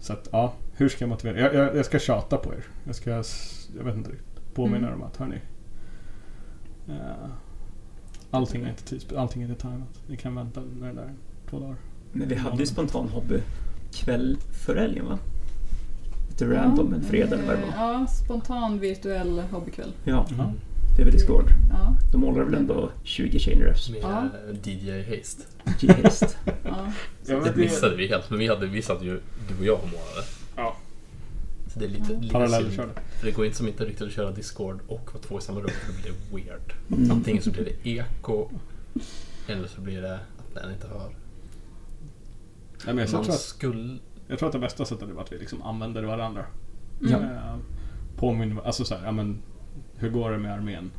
S1: så att ja, hur ska jag motivera? Jag, jag, jag ska tjata på er. Jag ska, s- jag vet inte riktigt, påminna
S2: Mm.
S1: er om att hörni. Eh, allting är inte tids, allting är inte tajmat. Ni kan vänta med det där två dagar.
S3: Men vi hade ju spontan hobby kväll för helgen va? Lite random en fredag eller vad det var.
S2: Ja, spontan virtuell hobbykväll.
S3: Ja,
S1: Ja.
S3: det är väl Discord.
S2: Ja,
S3: De målar väl ändå 20 chain refs.
S4: Med
S2: Ja.
S4: eh, DJ Haste.
S3: G-häst.
S2: ja.
S1: Ja, men
S4: Det
S1: det-
S4: missade vi helt, men vi, hade, vi satt ju, du och jag och målade.
S1: Ja.
S4: Så det är lite,
S2: Ja.
S4: lite
S1: Parallellkörde.
S4: synd. För Det går inte som inte riktigt att köra Discord och vara två i samma rum, för det blir weird.
S3: Mm.
S4: Antingen så blir det eko, eller så blir det att den inte hör.
S1: Nej, men jag,
S4: Man
S1: tror att,
S4: skulle...
S1: jag tror att det bästa sättet är bara att vi liksom använder varandra.
S2: Mm.
S1: Eh, Påminner, alltså såhär, ja men hur går det med armén?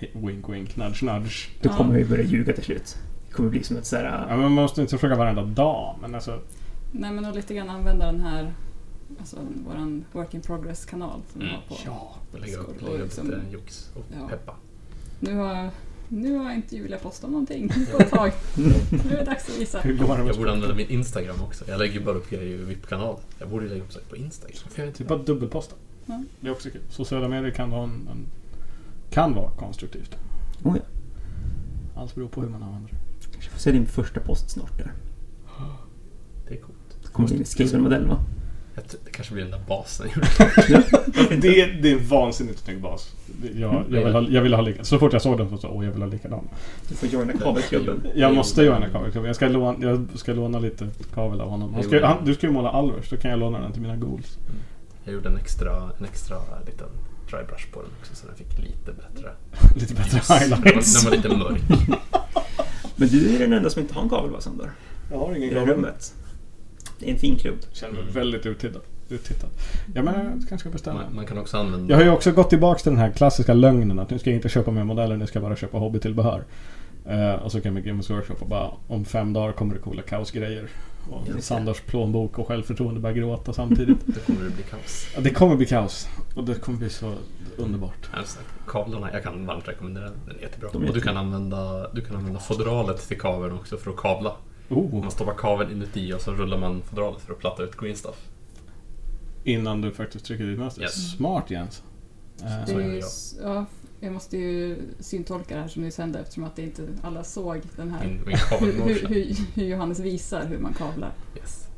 S1: Hi- Wink wink, nudge nudge.
S3: Då kommer vi börja ljuga till slut. Det kommer bli som ett så här...
S1: Ja, men man måste inte fråga varenda dag, men alltså...
S2: Nej men och lite grann använda den här, alltså våran work in progress kanal som vi
S4: Mm.
S2: har på.
S1: Ja.
S4: Lägga upp,
S2: Discord och
S4: lägga upp
S2: liksom-
S4: lite jox och
S2: Ja.
S4: peppa.
S2: Nu har, nu har inte Julia postat någonting på ett
S3: <laughs>
S2: tag. Nu är det dags att visa.
S1: Hur går det med
S4: Jag borde
S1: sporten?
S4: använda min Instagram också. Jag lägger bara upp grejer i VIP-kanalen. Jag borde lägga upp saker på Instagram. Får jag inte
S1: Typ bara dubbelposta.
S2: Ja.
S1: Det är också kul. Sociala medier kan vara, en, en, kan vara konstruktivt.
S3: Oh, ja.
S1: Allt beror på hur man använder det.
S3: Jag får se din första post snart där.
S4: Det är coolt.
S3: Det kommer bli en skrivarmodell va?
S4: Jag tror- Det kanske blir den där basen.
S3: <laughs>
S1: Det är, det är en vansinnigt snygg bas. Det- Jag, jag, vill ha, jag vill ha lika, så fort jag såg den så sa jag åh, jag vill ha likadan.
S3: Du får joina kabelklubben.
S1: Jag måste joina kavelklubben. Jag ska låna, jag ska låna lite kavel av honom. Han ska, han, du ska ju måla Alvers, då kan jag låna den till mina goals. <laughs>
S4: Jag gjorde en extra, en extra liten dry brush på den också så den fick lite bättre
S1: Lite bättre
S4: ljus. Den var,
S1: highlights.
S4: den var lite mörk. <laughs>
S3: Men du är den enda som inte har en kabel va, Sander?
S1: Jag har
S3: I
S1: ingen
S3: det här
S1: gavel.
S3: rummet. Det är en fin klubb.
S1: Känner mig väldigt uttittad. uttittad. Jag menar, jag kanske ska beställa.
S4: Man,
S1: en.
S4: man kan också använda...
S1: Jag har ju också gått tillbaka till den här klassiska lögnen att nu ska jag inte köpa mer modeller, nu ska jag bara köpa hobbytillbehör. Eh, och så kan jag med Games Workshop och bara om fem dagar kommer det coola kaosgrejer. Och
S4: Just det.
S1: Sanders plånbok och självförtroende börjar gråta samtidigt.
S4: <laughs> Då kommer det bli kaos.
S1: Ja, det kommer bli kaos. Och det kommer bli så underbart.
S4: Alltså, kablarna, jag kan varmt rekommendera den. Den är jättebra.
S3: De är
S4: och du
S3: jättebra.
S4: kan, använda, du kan använda fodralet till kabeln också för att kabla.
S1: Oh,
S4: Man stoppar kabeln inuti och så rullar man fodralet för att platta ut green stuff.
S1: innan du faktiskt trycker dit mönstret.
S4: Yes.
S1: Smart Jens. Eh,
S2: Det
S4: Så
S2: är
S4: gör
S2: ju,
S4: jag.
S2: s- ja, jag måste ju syntolka det här som ni sände eftersom att det inte alla såg den här.
S4: Min,
S2: Hur,
S4: min kabel
S2: hur,
S4: motion.
S2: hur, hur Johannes visar hur man kablar.
S4: Yes.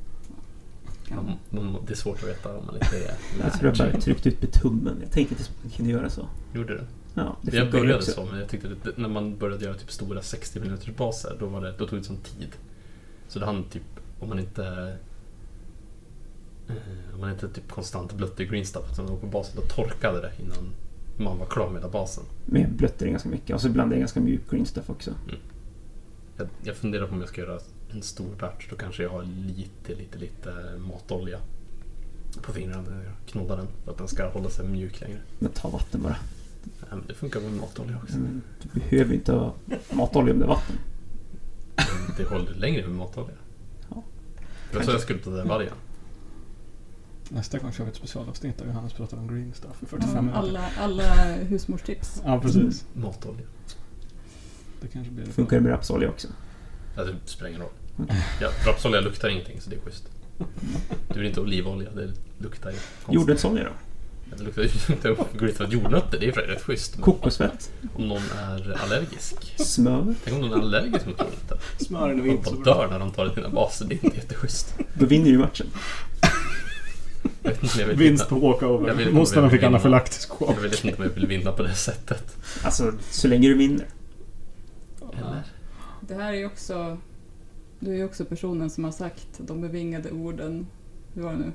S2: Kan
S4: Man,
S2: man-
S4: man, det är svårt att veta om man inte är
S3: Jag tror jag
S4: lärd.
S3: bara tryckte ut med tummen. Jag tänkte inte att man kunde göra så.
S4: Gjorde du?
S3: Ja, det
S4: Jag
S3: funkar ju
S4: började
S3: också.
S4: så, men jag tyckte att det- när man började göra typ stora 60 minuters baser då, var det, då tog det sån tid. Så det hann typ, om man inte... eh, Om man inte typ konstant blötte green stuff utan låg på basen, då torkade det innan man var klar med hela basen.
S3: Men jag blötte det ganska mycket. Och så blandade jag ganska mjuk green stuff också.
S4: Jag, jag funderar på om jag ska göra en stor batch, då kanske jag har lite, lite, lite matolja på fingrarna när jag knoddar den för att den ska hålla sig mjuk längre.
S3: Men ta vatten bara.
S4: Nej, men det funkar med matolja också.
S3: Mm, Du behöver ju inte ha matolja om det är vatten.
S4: Men Det håller längre med matolja.
S3: Ja.
S4: Det var så jag skulptade vargen.
S1: Nästa gång kör vi ett specialavsnitt där Johannes pratar om green stuff i 45
S2: Ja,
S1: minuter.
S2: alla, alla husmorstips.
S1: Ja, precis.
S4: Matolja.
S1: Det kanske blir det.
S3: Funkar det med rapsolja också?
S4: Alltså, det spelar ingen roll.
S3: Mm.
S4: Ja, rapsolja luktar ingenting, så det är schysst. Du vill inte olivolja, det luktar ju konstigt.
S3: Jordnötsolja då?
S4: Ja, Det luktar ju <laughs> inte grytat jordnötter, det är ju rätt schysst. Men
S3: Kokosfett?
S4: om någon är allergisk.
S3: Smör?
S4: Tänk om någon är allergisk mot jordnötter.
S1: Smör är nog
S4: De
S1: inte så
S4: bara
S1: bra.
S4: dör när de tar dina baser, det är inte jätteschysst.
S3: Då vinner ju matchen.
S4: Jag vet inte om jag vill
S1: Vinst
S4: vinna.
S1: på
S4: Jag vill
S1: walkover.
S4: inte
S1: Mostarna fick
S4: vinna.
S1: anafylaktisk
S4: Jag
S1: chock.
S4: vet inte om jag vill vinna på det sättet.
S3: Alltså, så länge du vinner.
S4: Eller?
S2: Det här är ju också... Du är ju också personen som har sagt de bevingade orden. Hur var det nu?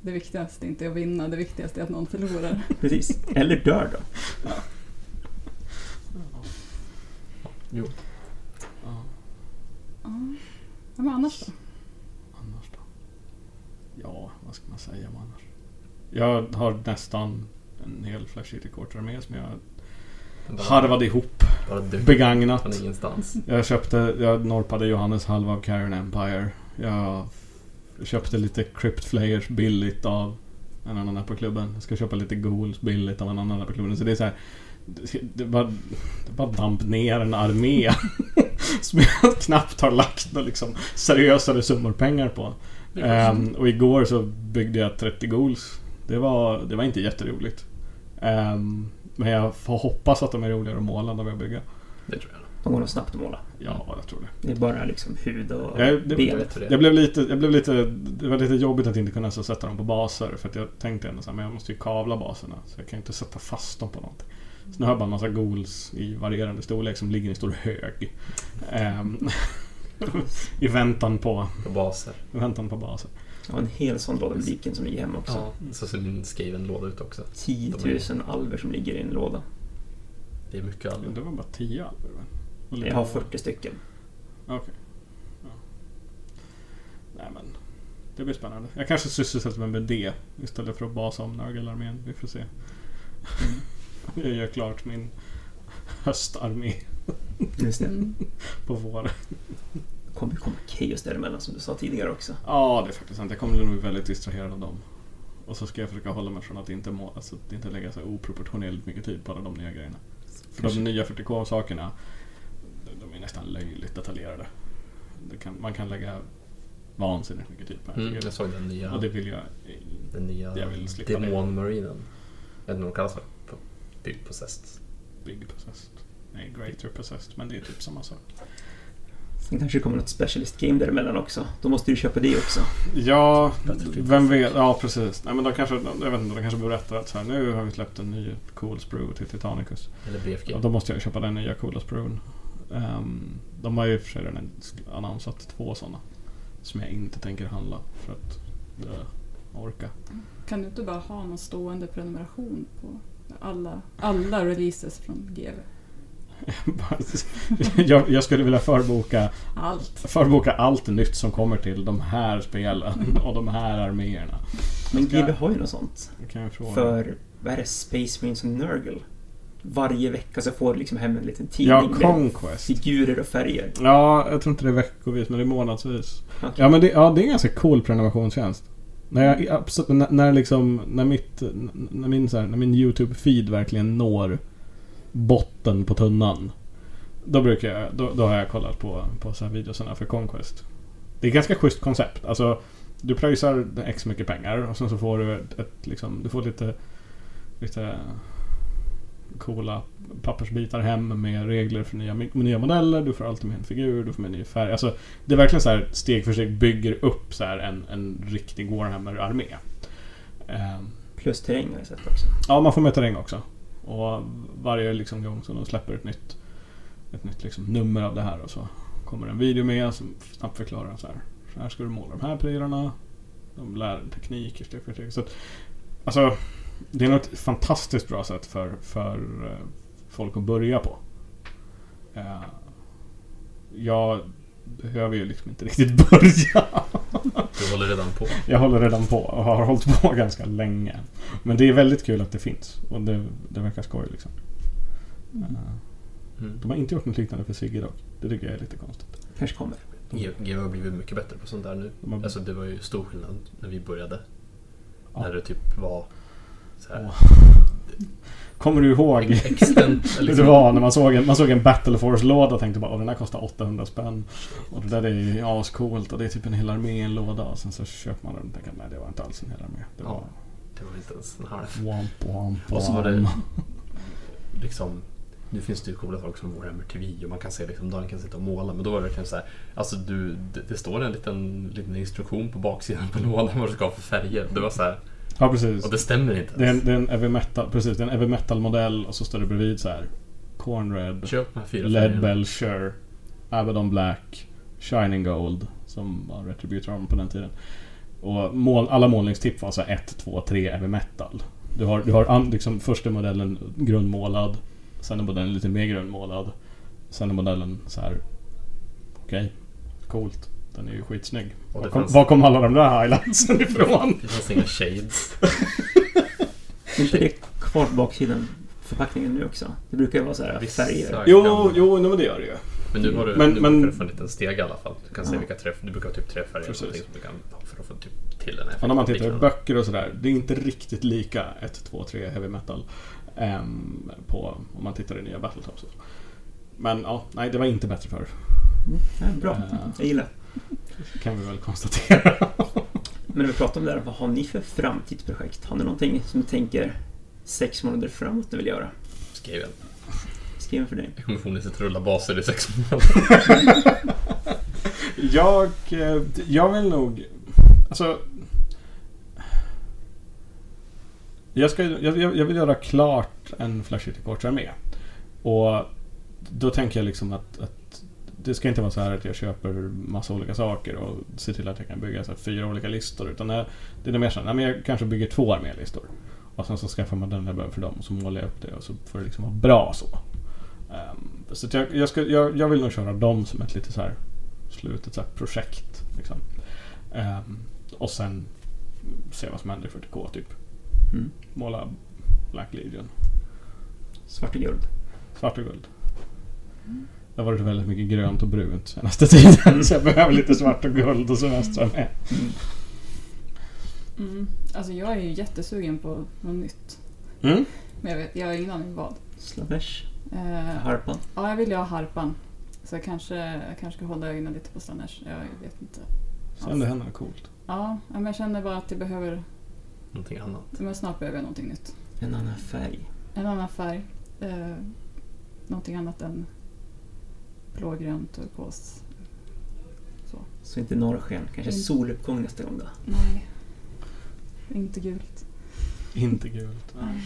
S2: Det viktigaste är inte att vinna, det viktigaste är att någon förlorar.
S4: <laughs>
S3: Precis. Eller dör då.
S4: Jo.
S1: Ja,
S2: Ja, Ja, men annars då?
S1: annars då? Ja, vad ska man säga om annars? Jag har nästan en hel Flash City-kort med som jag harvade ihop
S4: Bara dök
S1: begagnat.
S4: från ingenstans.
S1: Jag köpte, jag norpade Johannes halva av Karen Empire. Jag köpte lite Crypt Flayers billigt av en annan där på klubben. Jag ska köpa lite Ghouls billigt av en annan där på klubben. Så det är så här, det- det bara, det bara damp ner en armé <laughs> som jag knappt har lagt några liksom seriösare summor pengar på.
S4: Det är schysst.
S1: Ehm, och igår så byggde jag 30 goals. Det var, det var inte jätteroligt. Ehm, men jag får hoppas att de är roligare att måla än de jag bygger.
S4: Det tror jag.
S3: De går nog snabbt att måla.
S1: Ja, jag tror det.
S3: Det är bara liksom hud och
S1: Ja, det-
S4: Jag
S3: ben.
S4: vet hur det är.
S1: Jag blev lite, jag blev lite, det var lite jobbigt att inte kunna så sätta dem på baser för att jag tänkte ändå så här, men jag måste ju kavla baserna så jag kan ju inte sätta fast dem på någonting. Så nu har jag bara en massa goals i varierande storlek som ligger i en stor hög. Ehm, I väntan på,
S4: På baser.
S1: i väntan på baser.
S3: Jag har en hel sån låda med liken som ligger hemma också.
S4: Ja, så ser min Skaven-låda ut också.
S3: 10 000 alver som ligger i en låda.
S4: Det är mycket allvar.
S1: Det var bara 10 alver va? Och lite-
S3: Jag har 40 stycken.
S1: Okej. Ja. Nej men. Det blir spännande. Jag kanske sysselsätter mig med det istället för att basa om Nörgelarmén. Vi får se. <laughs> Jag gör klart min höstarmé
S3: Just det.
S2: Mm.
S1: på våren.
S3: Det kommer ju komma kaos däremellan som du sa tidigare också.
S1: Ja, det är faktiskt sant. Jag kommer nog bli väldigt distraherad av dem. Och så ska jag försöka hålla mig från att inte, må, alltså, att inte lägga så här oproportionerligt mycket tid på alla de nya grejerna. För
S3: Kanske.
S1: de nya 40K-sakerna, de- de är nästan löjligt detaljerade. Det kan, man kan lägga vansinnigt mycket tid på en
S4: Mm,
S1: figur.
S4: jag såg den nya,
S1: Och det vill jag... eh,
S4: den nya
S1: jag vill slippa det.
S4: demonmarinen. Jag vet inte vad de kallas för. På- Typ possessed.
S1: Big possessed. Nej, greater possessed. Men det är typ samma sak.
S3: Sen kanske det kommer något specialist game däremellan också. Då måste du köpa det också.
S1: Ja,
S4: Battlefield.
S1: vem vet. Ja, precis. Nej, men de kanske, jag vet inte, de kanske berättar att så här, nu har vi släppt en ny cool sprue till Titanicus.
S4: Eller BFG.
S1: Ja, då måste jag köpa den nya coola spruen. Ehm, de har ju i och för sig redan annonsat två sådana. Som jag inte tänker handla. För att eh, orka.
S2: Kan du inte bara ha någon stående prenumeration på alla, alla releases från GV?
S1: <laughs> jag, jag skulle vilja förboka,
S2: Allt.
S1: förboka allt nytt som kommer till de här spelen och de här arméerna.
S3: Men
S1: Ska-
S3: GB har ju något sånt.
S1: Då kan jag fråga.
S3: För, vad är det, Space Marines och Nurgle? Varje vecka så får du liksom hem en liten tidning
S1: ja,
S3: med
S1: Conquest.
S3: figurer och färger.
S1: Ja, jag tror inte det är veckovis, men det är månadsvis.
S3: Okej.
S1: Ja, men det, ja, det är en ganska cool prenumerationstjänst. När, jag, absolut, när, när, liksom, när, mitt, n- när, min, så här, när min YouTube-feed verkligen når botten på tunnan. Då, brukar jag, då, då har jag kollat på, på så här videosarna för Conquest. Det är ett ganska schysst koncept. Alltså, du pröjsar X mycket pengar och sen så får du ett, ett liksom, du får lite, lite coola pappersbitar hem med regler för nya, med nya modeller. Du får alltid med en figur, du får med en ny färg. Alltså, det är verkligen så här steg för steg bygger upp så här en, en riktig Warhammer-armé. Ehm,
S3: Plus terräng har jag sett också.
S1: Ja, man får med terräng också. Och varje liksom gång som de släpper ett nytt, ett nytt liksom nummer av det här och så kommer en video med som snabbt förklarar så här. Så här ska du måla de här prylarna. De lär tekniker steg för steg. Så att, alltså, det är nog ett fantastiskt bra sätt för, för eh, folk att börja på. Eh, Jag behöver ju liksom inte riktigt <laughs> börja.
S4: Du håller redan på.
S1: Jag håller redan på och har <laughs> hållit på ganska länge. Men det är väldigt kul att det finns och det, det verkar skoj liksom. Eh,
S4: Mm.
S1: De har inte gjort något liknande för Sigge dock. Det tycker jag är lite konstigt.
S3: Kanske kommer.
S4: GW har blivit mycket bättre på sånt där nu.
S1: De har,
S4: Alltså det var ju stor skillnad när vi började.
S1: Ja.
S4: När det typ var så här,
S1: kommer du ihåg
S4: ex-
S1: <laughs>
S4: extent, liksom.
S1: hur det var när man såg en, man såg en Battle Force-låda och tänkte bara åh den här kostar 800 spänn. Och det där är ju ascoolt och det är typ en hel armé i en låda. Och sen så köper man den och tänker nej det var inte alls en hel armé. Det var
S4: Det var inte ens en halv.
S1: womp womp
S4: Och så var
S1: womp.
S4: det <laughs> liksom... Nu finns det ju coola saker som Warhammer TV och man kan se liksom, Dan kan sitta och måla men då var det verkligen så här, Alltså du, det, det står en liten, liten instruktion på baksidan på lådan vad du ska ha för färger. Det var så här,
S1: Ja precis.
S4: och det stämmer inte
S1: Det är en,
S4: ens.
S1: det är en heavy metal, precis, det är en heavy metal modell och så står det bredvid så här. Corn Red,
S4: Köp de här fyra
S1: Lead
S4: färgerna.
S1: Belcher, Abaddon Black, Shining Gold som var Retributor Armor på den tiden. Och mål, alla målningstipp var så här 1, 2, 3 heavy metal. Du har, du har an, liksom första modellen grundmålad, sen är modellen lite mer grundmålad, sen är modellen så här. Okej, coolt. Den är ju skitsnygg.
S4: Och det
S1: Var kom,
S4: fanns-
S1: var kom alla de där highlightsen <laughs> ifrån?
S4: <laughs> Det fanns inga shades.
S3: Är inte det kvar på baksidan förpackningen nu också? Det brukar ju vara så här
S4: Vissa
S3: färger.
S1: Jo, jo, nej, men det gör det ju.
S4: Men nu har du,
S1: Men-
S4: nu
S1: men-
S4: brukar du få en liten steg i alla fall. Du kan se
S3: Ja.
S4: vilka träff, du brukar ha typ tre färger eller
S1: Precis.
S4: någonting som du kan ha för att få typ till den här
S1: Ja, när man tittar i
S4: effekten.
S1: böcker och sådär, det är inte riktigt lika 1, 2, 3 heavy metal ehm, på, om man tittar i nya Battletops. och så. Men ja, nej det var inte bättre förr,
S3: Mm, ja, bra,
S1: Ja.
S3: jag gillar.
S1: kan vi väl konstatera.
S3: Men när vi pratar om det här, vad har ni för framtidsprojekt? Har ni någonting som ni tänker sex månader framåt ni vill göra?
S4: Skrev jag.
S3: Skriv en för dig.
S4: Jag kommer förmodligen sitta och rulla baser i sex månader.
S1: jag, eh, jag vill nog... Alltså... Jag, ska, jag, jag jag vill göra klart en Flash City Quartz armé. Och då tänker jag liksom att, att det ska inte vara så här att jag köper massa olika saker och ser till att jag kan bygga så här fyra olika listor. Utan det det är mer så här, nej, men jag kanske bygger två armélistor. Och sen så skaffar man den jag behöver för dem och så målar jag upp det och så får det liksom vara bra så. Ehm, så att jag, jag, ska, jag, jag vill nog köra dem som ett lite så här slut, ett så här projekt. Liksom. Ehm, och sen se vad som händer i 40K typ.
S3: Mm.
S1: Måla Black Legion.
S3: Svart och guld.
S1: Svart och guld. Det har varit väldigt mycket grönt och brunt senaste tiden. <laughs> Så jag behöver lite svart och guld och semestrar med.
S2: Mm. Alltså jag är ju jättesugen på något nytt.
S1: Mm.
S2: Men jag, vet, jag har ingen aning vad.
S3: Slavesh.
S2: Eh,
S3: Harpan.
S2: ja, jag vill ju ha harpan. Så jag kanske, jag kanske ska hålla ögonen lite på Stanesh. Jag vet inte.
S1: Se om det händer något coolt.
S2: Ja, ja, men jag känner bara att jag behöver...
S4: Någonting annat.
S2: Men snart behöver jag någonting nytt.
S3: En annan färg.
S2: En annan färg. Eh, någonting annat än blågrön, turkos.
S3: Så inte norrsken. Kanske
S2: Mm.
S3: soluppgång nästa gång då.
S2: Nej. Inte gult.
S1: Inte gult.
S2: Nej.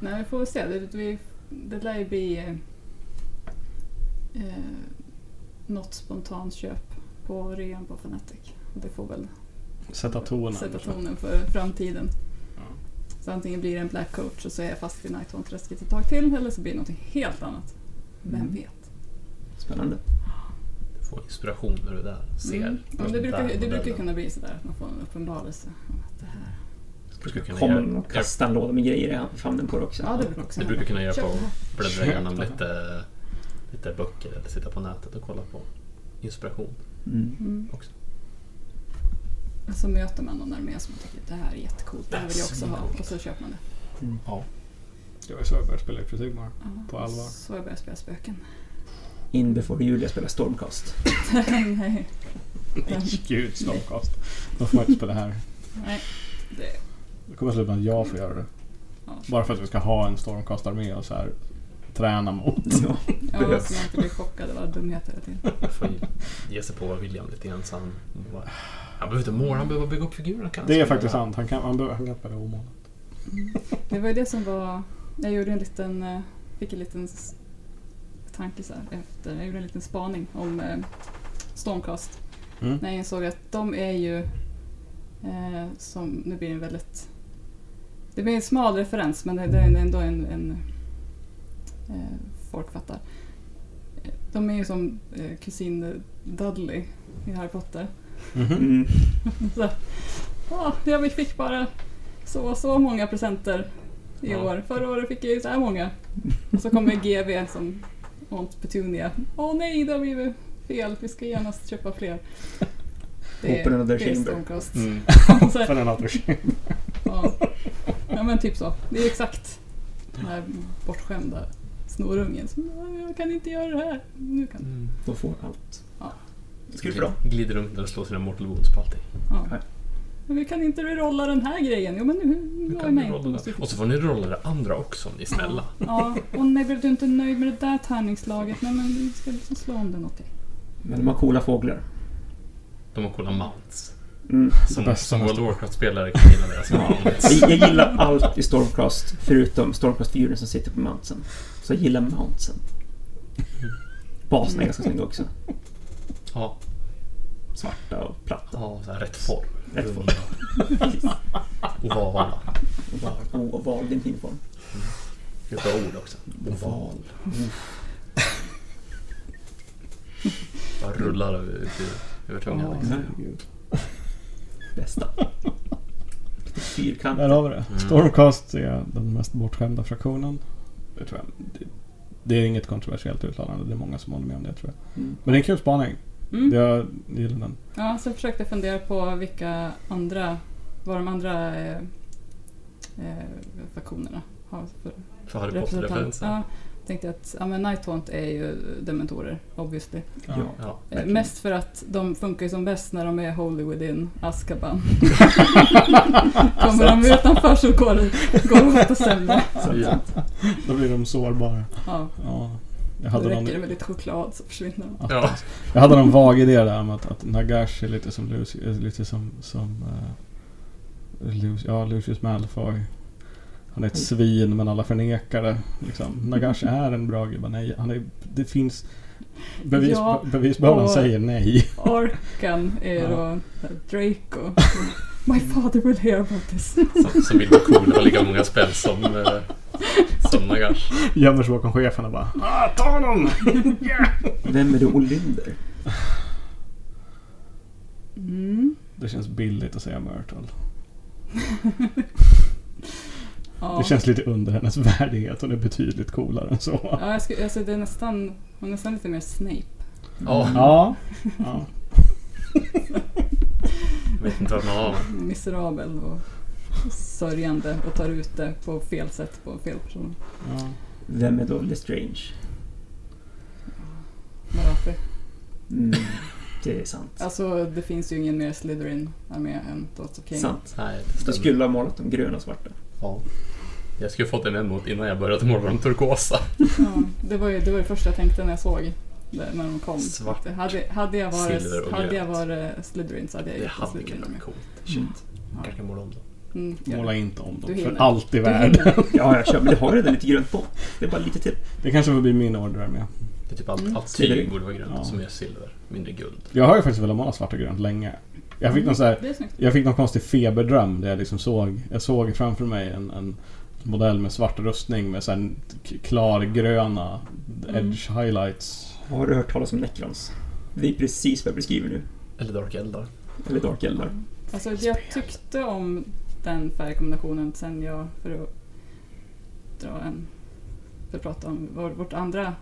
S2: Nej, vi får väl se. Det, vi, det lär ju bli eh, eh, något spontant köp på rean på Fnatic. Och Det får väl
S1: Sätta tonen.
S2: sätta tonen för framtiden.
S1: Ja.
S2: Så antingen blir det en black coach och så är jag fast i Nighthorn-träsket ett tag till eller så blir det något helt annat. Vem
S3: Mm.
S2: vet?
S3: Spännande.
S4: Du får inspiration ur det där. Ser.
S2: Mm. Ja, men det brukar,
S4: Där
S2: det brukar
S4: modellen.
S2: kunna bli sådär att man får en uppenbarelse. om att Det, här.
S4: Det brukar kunna
S3: Kommer
S4: göra-
S3: någon och kastar en låda med grejer i famnen på dig också.
S2: Ja, det brukar också
S4: Det brukar kunna göra
S2: Köp
S4: på
S2: det här.
S4: bläddra
S1: Köp
S4: igenom
S1: det här.
S4: lite, lite böcker eller sitta på nätet och kolla på inspiration.
S3: Mm.
S2: Mm.
S4: också.
S2: Och Så möter man någon armé som tycker att det här är jättecoolt, det här vill jag också ha. Och så köper man det.
S3: Mm.
S1: Det var ju så jag började spela i
S2: <laughs>
S1: Sigmar.
S2: Ja.
S1: På allvar.
S2: Så jag började spela spöken. <laughs>
S3: In before Julia spelar Stormcast.
S2: Nej.
S1: Nej, gud, slagkast. Då får man inte spela här.
S2: Nej. Det,
S1: Det kommer sluta med att jag får göra det.
S2: Ja.
S1: Bara för att vi ska ha en stormkastarmé och så här träna mot.
S3: Ja.
S2: ja,
S3: Behövs.
S2: så man inte blir chockad av alla dumheter hela tiden.
S4: Man får ju ge sig på William lite grann så han, bara- han behöver inte måla, han behöver bara bygga upp figurerna. kan han
S1: Mm. Det är
S4: spela.
S1: faktiskt sant. Han kan, han, behöver- han kan spela omålat.
S2: Mm. Det var ju det som var... Jag gjorde en liten... eh, Fick en liten s- tanke så här efter. Jag gjorde en liten spaning om eh, Stormcast.
S1: Mm.
S2: När jag insåg att de är ju... Eh, som, nu blir det en väldigt... Det blir en smal referens men det, det är ändå en... en eh, folk fattar. Eh, De är ju som eh, kusin Dudley i Harry Potter. Mm-hmm.
S1: Mhm.
S3: Mm.
S2: Så, ah, jag fick bara så så många presenter i
S4: Ja.
S2: år. Förra året fick jag ju så här många. Och så kommer GV som Aunt Petunia. Åh nej, det har blivit fel. Vi ska genast köpa fler. Det
S3: Open
S2: är,
S3: another
S2: det är
S3: chamber.
S2: Stormcast.
S4: Mm.
S2: <laughs> Så,
S1: För en attraktion.
S2: ja. ja, men typ så. Det är exakt den här bortskämda snorungen som "Ah, jag kan inte göra det här. Nu kan jag."
S4: <laughs> Mm.
S3: De får allt.
S2: Ja.
S3: Skulle bra.
S4: Glider runt där och slår sina mortal wounds på allting.
S2: ja. Men vi kan inte rolla den här grejen. Jo, men nu, nu
S4: Nu
S2: har
S4: kan
S2: jag
S4: ni
S2: med.
S4: rolla det. Och så får ni rolla det andra också om ni är snälla.
S2: Ja, och nej blev du inte nöjd med det där tärningslaget? Nej men vi ska liksom slå om det någonting.
S3: Men de har coola fåglar.
S4: De har coola mounts.
S3: Mm.
S4: Som,
S1: bästa
S4: som World
S1: mounts.
S4: of Warcraft-spelare kan
S1: <laughs>
S4: gilla deras <laughs> mounts.
S3: Jag, jag gillar allt i Stormcast, förutom Stormcast-figuren som sitter på Mountsen. Så jag gillar Mountsen. Baserna är ganska snygga också.
S4: Ja,
S3: Svarta och platta.
S4: ja så här, rätt form.
S3: Rätt form.
S4: <laughs> Ovala.
S3: Oval, oval det är en fin form.
S4: Det är bra ord också.
S3: Oval.
S4: Bara rullar över, över- över tungan. liksom.
S1: herregud.
S3: Bästa. Lite fyrkant.
S1: Där har vi det.
S2: Mm.
S1: Stormcast är den mest bortskämda fraktionen. Det tror jag. Det, det är inget kontroversiellt uttalande. Det är många som håller med om det tror jag.
S3: Mm.
S1: Men det är en kul spaning.
S2: Mm.
S1: Jag gillar den.
S2: Ja, så försökte jag fundera på vilka andra, vad de andra eh, eh, faktionerna har för
S4: För Harry
S2: representanter.
S4: Potter-referensen.
S2: Ja, tänkte jag att ja, men Nighthaunt är ju dementorer, obviously.
S3: Ja.
S4: Ja.
S2: Eh,
S3: Verkligen.
S2: mest för att de funkar ju som bäst när de är holy within
S1: <laughs>
S2: Azkaban. Kommer de utanför så går det går det ofta sämre.
S4: Ja.
S1: Då blir de sårbara.
S2: Ja,
S1: Ja. Jag
S2: då
S1: hade
S2: räcker
S1: någon
S2: det med lite choklad så försvinner de.
S4: Ja.
S1: Jag hade någon vag idé där om att, att Nagash är lite som Lucy, är lite som, som eh, Lucy, ja, Lucius Malfoy. Han är ett svin men alla förnekar det. Liksom. Nagash är en bra gubbe. Nej, han är, det finns bevis,
S2: Ja,
S1: bevisbördan
S2: och-
S1: säger nej.
S2: Orkan är
S1: Ja.
S2: då Draco. My father will hear about this.
S4: Som, som vill vara cool och lika många spel som, eh, som Nagash.
S1: <laughs> Gömmer sig bakom chefen och bara ah, ta honom!
S3: Vem är det Olynder?
S2: Mm.
S1: Det känns billigt att säga Myrtle.
S2: Ja.
S1: Det känns lite under hennes <laughs> värdighet. Hon är betydligt coolare än så.
S2: Ja, jag skulle, alltså det är nästan, hon är nästan lite mer Snape.
S3: Mm.
S4: Ja.
S1: Ja. ja.
S4: Jag vet inte vad man har.
S2: Miserabel och sörjande och tar ut det på fel sätt på fel person.
S1: ja.
S3: Vem är då Lestrange?
S2: Varför?
S3: Mm. Det är sant.
S2: Alltså det finns ju ingen mer Slytherin armé än Dots of King.
S3: Sant.
S4: Nej,
S3: Du
S4: det stämmer.
S3: skulle ha målat dem gröna och svarta.
S4: Ja. Jag skulle fått en emot innan jag började måla de turkosa.
S2: Ja, det, var ju, det var det första jag tänkte när jag såg det, när de kom.
S4: Svart,
S2: Det Hade, hade, jag
S4: silver
S2: varit,
S4: och
S2: hade jag
S4: grönt.
S2: varit Slytherin så hade jag
S4: Det
S2: gjort en
S4: hade kunnat
S2: Slytherin-armé.
S4: vara coolt.
S3: Shit.
S2: Ja.
S4: Kanske måla om dem.
S2: Mm, gör det.
S1: Måla inte om
S2: Du
S1: dem
S2: hinner.
S1: för allt i
S2: Du
S1: världen.
S2: hinner.
S3: Ja, jag kör. Men det har redan lite grönt på. Det är bara lite till.
S1: Det kanske får bli min order med.
S4: Det är typ allt,
S2: Mm.
S4: allt tyg borde vara grönt
S1: Ja.
S4: som är silver, mindre guld.
S1: Jag har ju faktiskt velat måla svart och grönt länge. <laughs> Jag
S2: Mm.
S1: fick någon så här
S2: Det är snyggt.
S1: Jag fick någon konstig feberdröm där jag liksom såg, jag såg framför mig en, en modell med svart rustning med så här k- klargröna edge highlights.
S3: Har du hört talas om Necrons? Det är precis vad jag beskriver nu.
S4: Eller Dark Eldar.
S3: Eller Dark Eldar.
S2: Alltså jag tyckte om den färgkombinationen sen jag, för att dra en, för att prata om vår, vårt andra,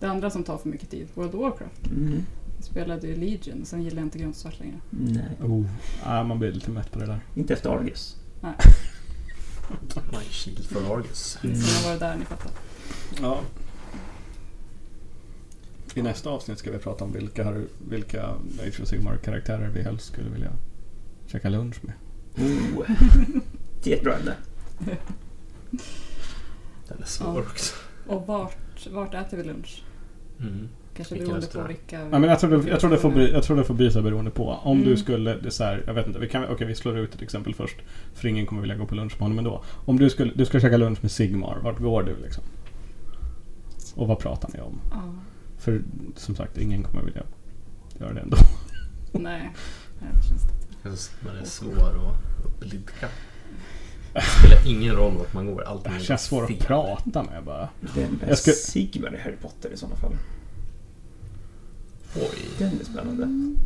S2: det andra som tar för mycket tid, World of Warcraft.
S3: Mm.
S2: Jag spelade ju Legion, sen gillade jag inte grönt och svart längre.
S3: Nej,
S1: Oh. Ah, man blir lite mätt på det där.
S3: inte efter Argus.
S4: My shield from Argus.
S3: Mm.
S2: Sen jag var där, ni fattar.
S1: Ja. I nästa avsnitt ska vi prata om vilka, har- vilka Age of Sigmar karaktärer vi helst skulle vilja käka lunch med.
S3: Oh. Det är ett bra ämne.
S4: Den är svår också.
S2: Och vart, vart äter vi lunch?
S4: Mm.
S2: Kanske
S4: Vilken
S2: beroende på
S4: restaurang?
S2: vilka...
S1: Ja, men jag, tror det, jag, tror det får, bry- jag tror det får byta beroende på. Om
S2: Mm.
S1: du skulle, det är så här, jag vet inte, vi, kan, okej, vi slår ut ett exempel först. För ingen kommer vilja gå på lunch med honom ändå. Om du skulle, du ska käka lunch med Sigmar, vart går du liksom? Och vad pratar ni om?
S2: Ja,
S1: För som sagt, ingen kommer vilja göra det ändå.
S2: nej. Det känns det.
S4: Man är svår att blidka. Det spelar ingen roll vart man går.
S1: Det
S4: Allting
S1: här
S4: är
S1: känns svårt att
S4: fel.
S1: prata med bara.
S3: Den är
S1: Jag ska-
S3: Sigmar i Harry Potter i sådana fall.
S4: Oj.
S3: Den är spännande.
S2: Mm.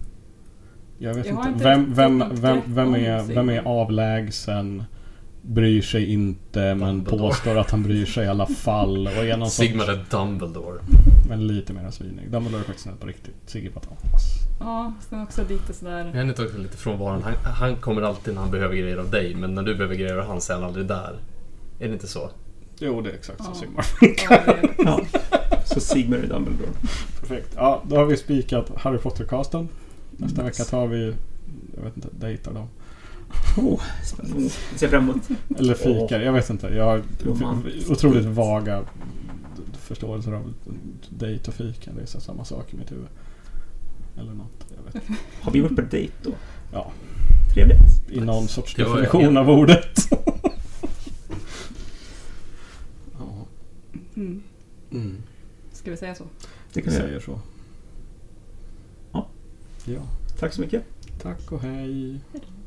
S1: Jag vet
S2: Jag har
S1: inte.
S2: inte
S1: Vem,
S2: riktigt
S1: vem,
S2: något
S1: vem,
S2: grepp
S1: vem,
S2: om
S1: är, vem är
S2: Sigmar.
S1: avlägsen? Bryr sig inte men
S4: Dumbledore.
S1: påstår att han bryr sig i alla fall. Och är någon sorts-
S4: Sigmar är Dumbledore.
S1: Men lite mer svinig. Dumbledore är faktiskt snäll på riktigt. Sigge Patanas.
S2: Ja, sen också lite sådär...
S4: Jag är inte också lite frånvarande. Han, han kommer alltid när han behöver grejer av dig, men när du behöver grejer av han så är han aldrig där. Är det inte så?
S1: Jo, det är exakt som
S2: Ja.
S1: Sigmar. <laughs>
S2: Ja, det-
S3: Ja. Så Sigmar är Dumbledore.
S1: Perfekt. Ja, då har vi spikat Harry Potter-casten. Nästa vecka tar vi, jag vet inte, dejtar dem.
S3: Oh, spännande. Jag ser fram emot.
S1: Eller fikar, jag vet inte. Jag har
S3: Romantiskt.
S1: otroligt vaga förståelser av dejt och fika. Det är så samma sak i mitt huvud. Eller något. Jag vet. inte.
S3: Har vi varit på dejt då?
S1: Ja.
S3: Trevligt.
S1: I någon sorts
S4: Det var
S1: definition
S4: en-
S1: av ordet. ja.
S2: Mm.
S1: Mm.
S2: Ska vi säga så?
S3: Det
S1: Vi
S3: kan vi göra.
S1: säger så.
S3: Ja.
S1: Ja.
S3: Tack så mycket.
S1: Tack och hej.
S2: Hej då.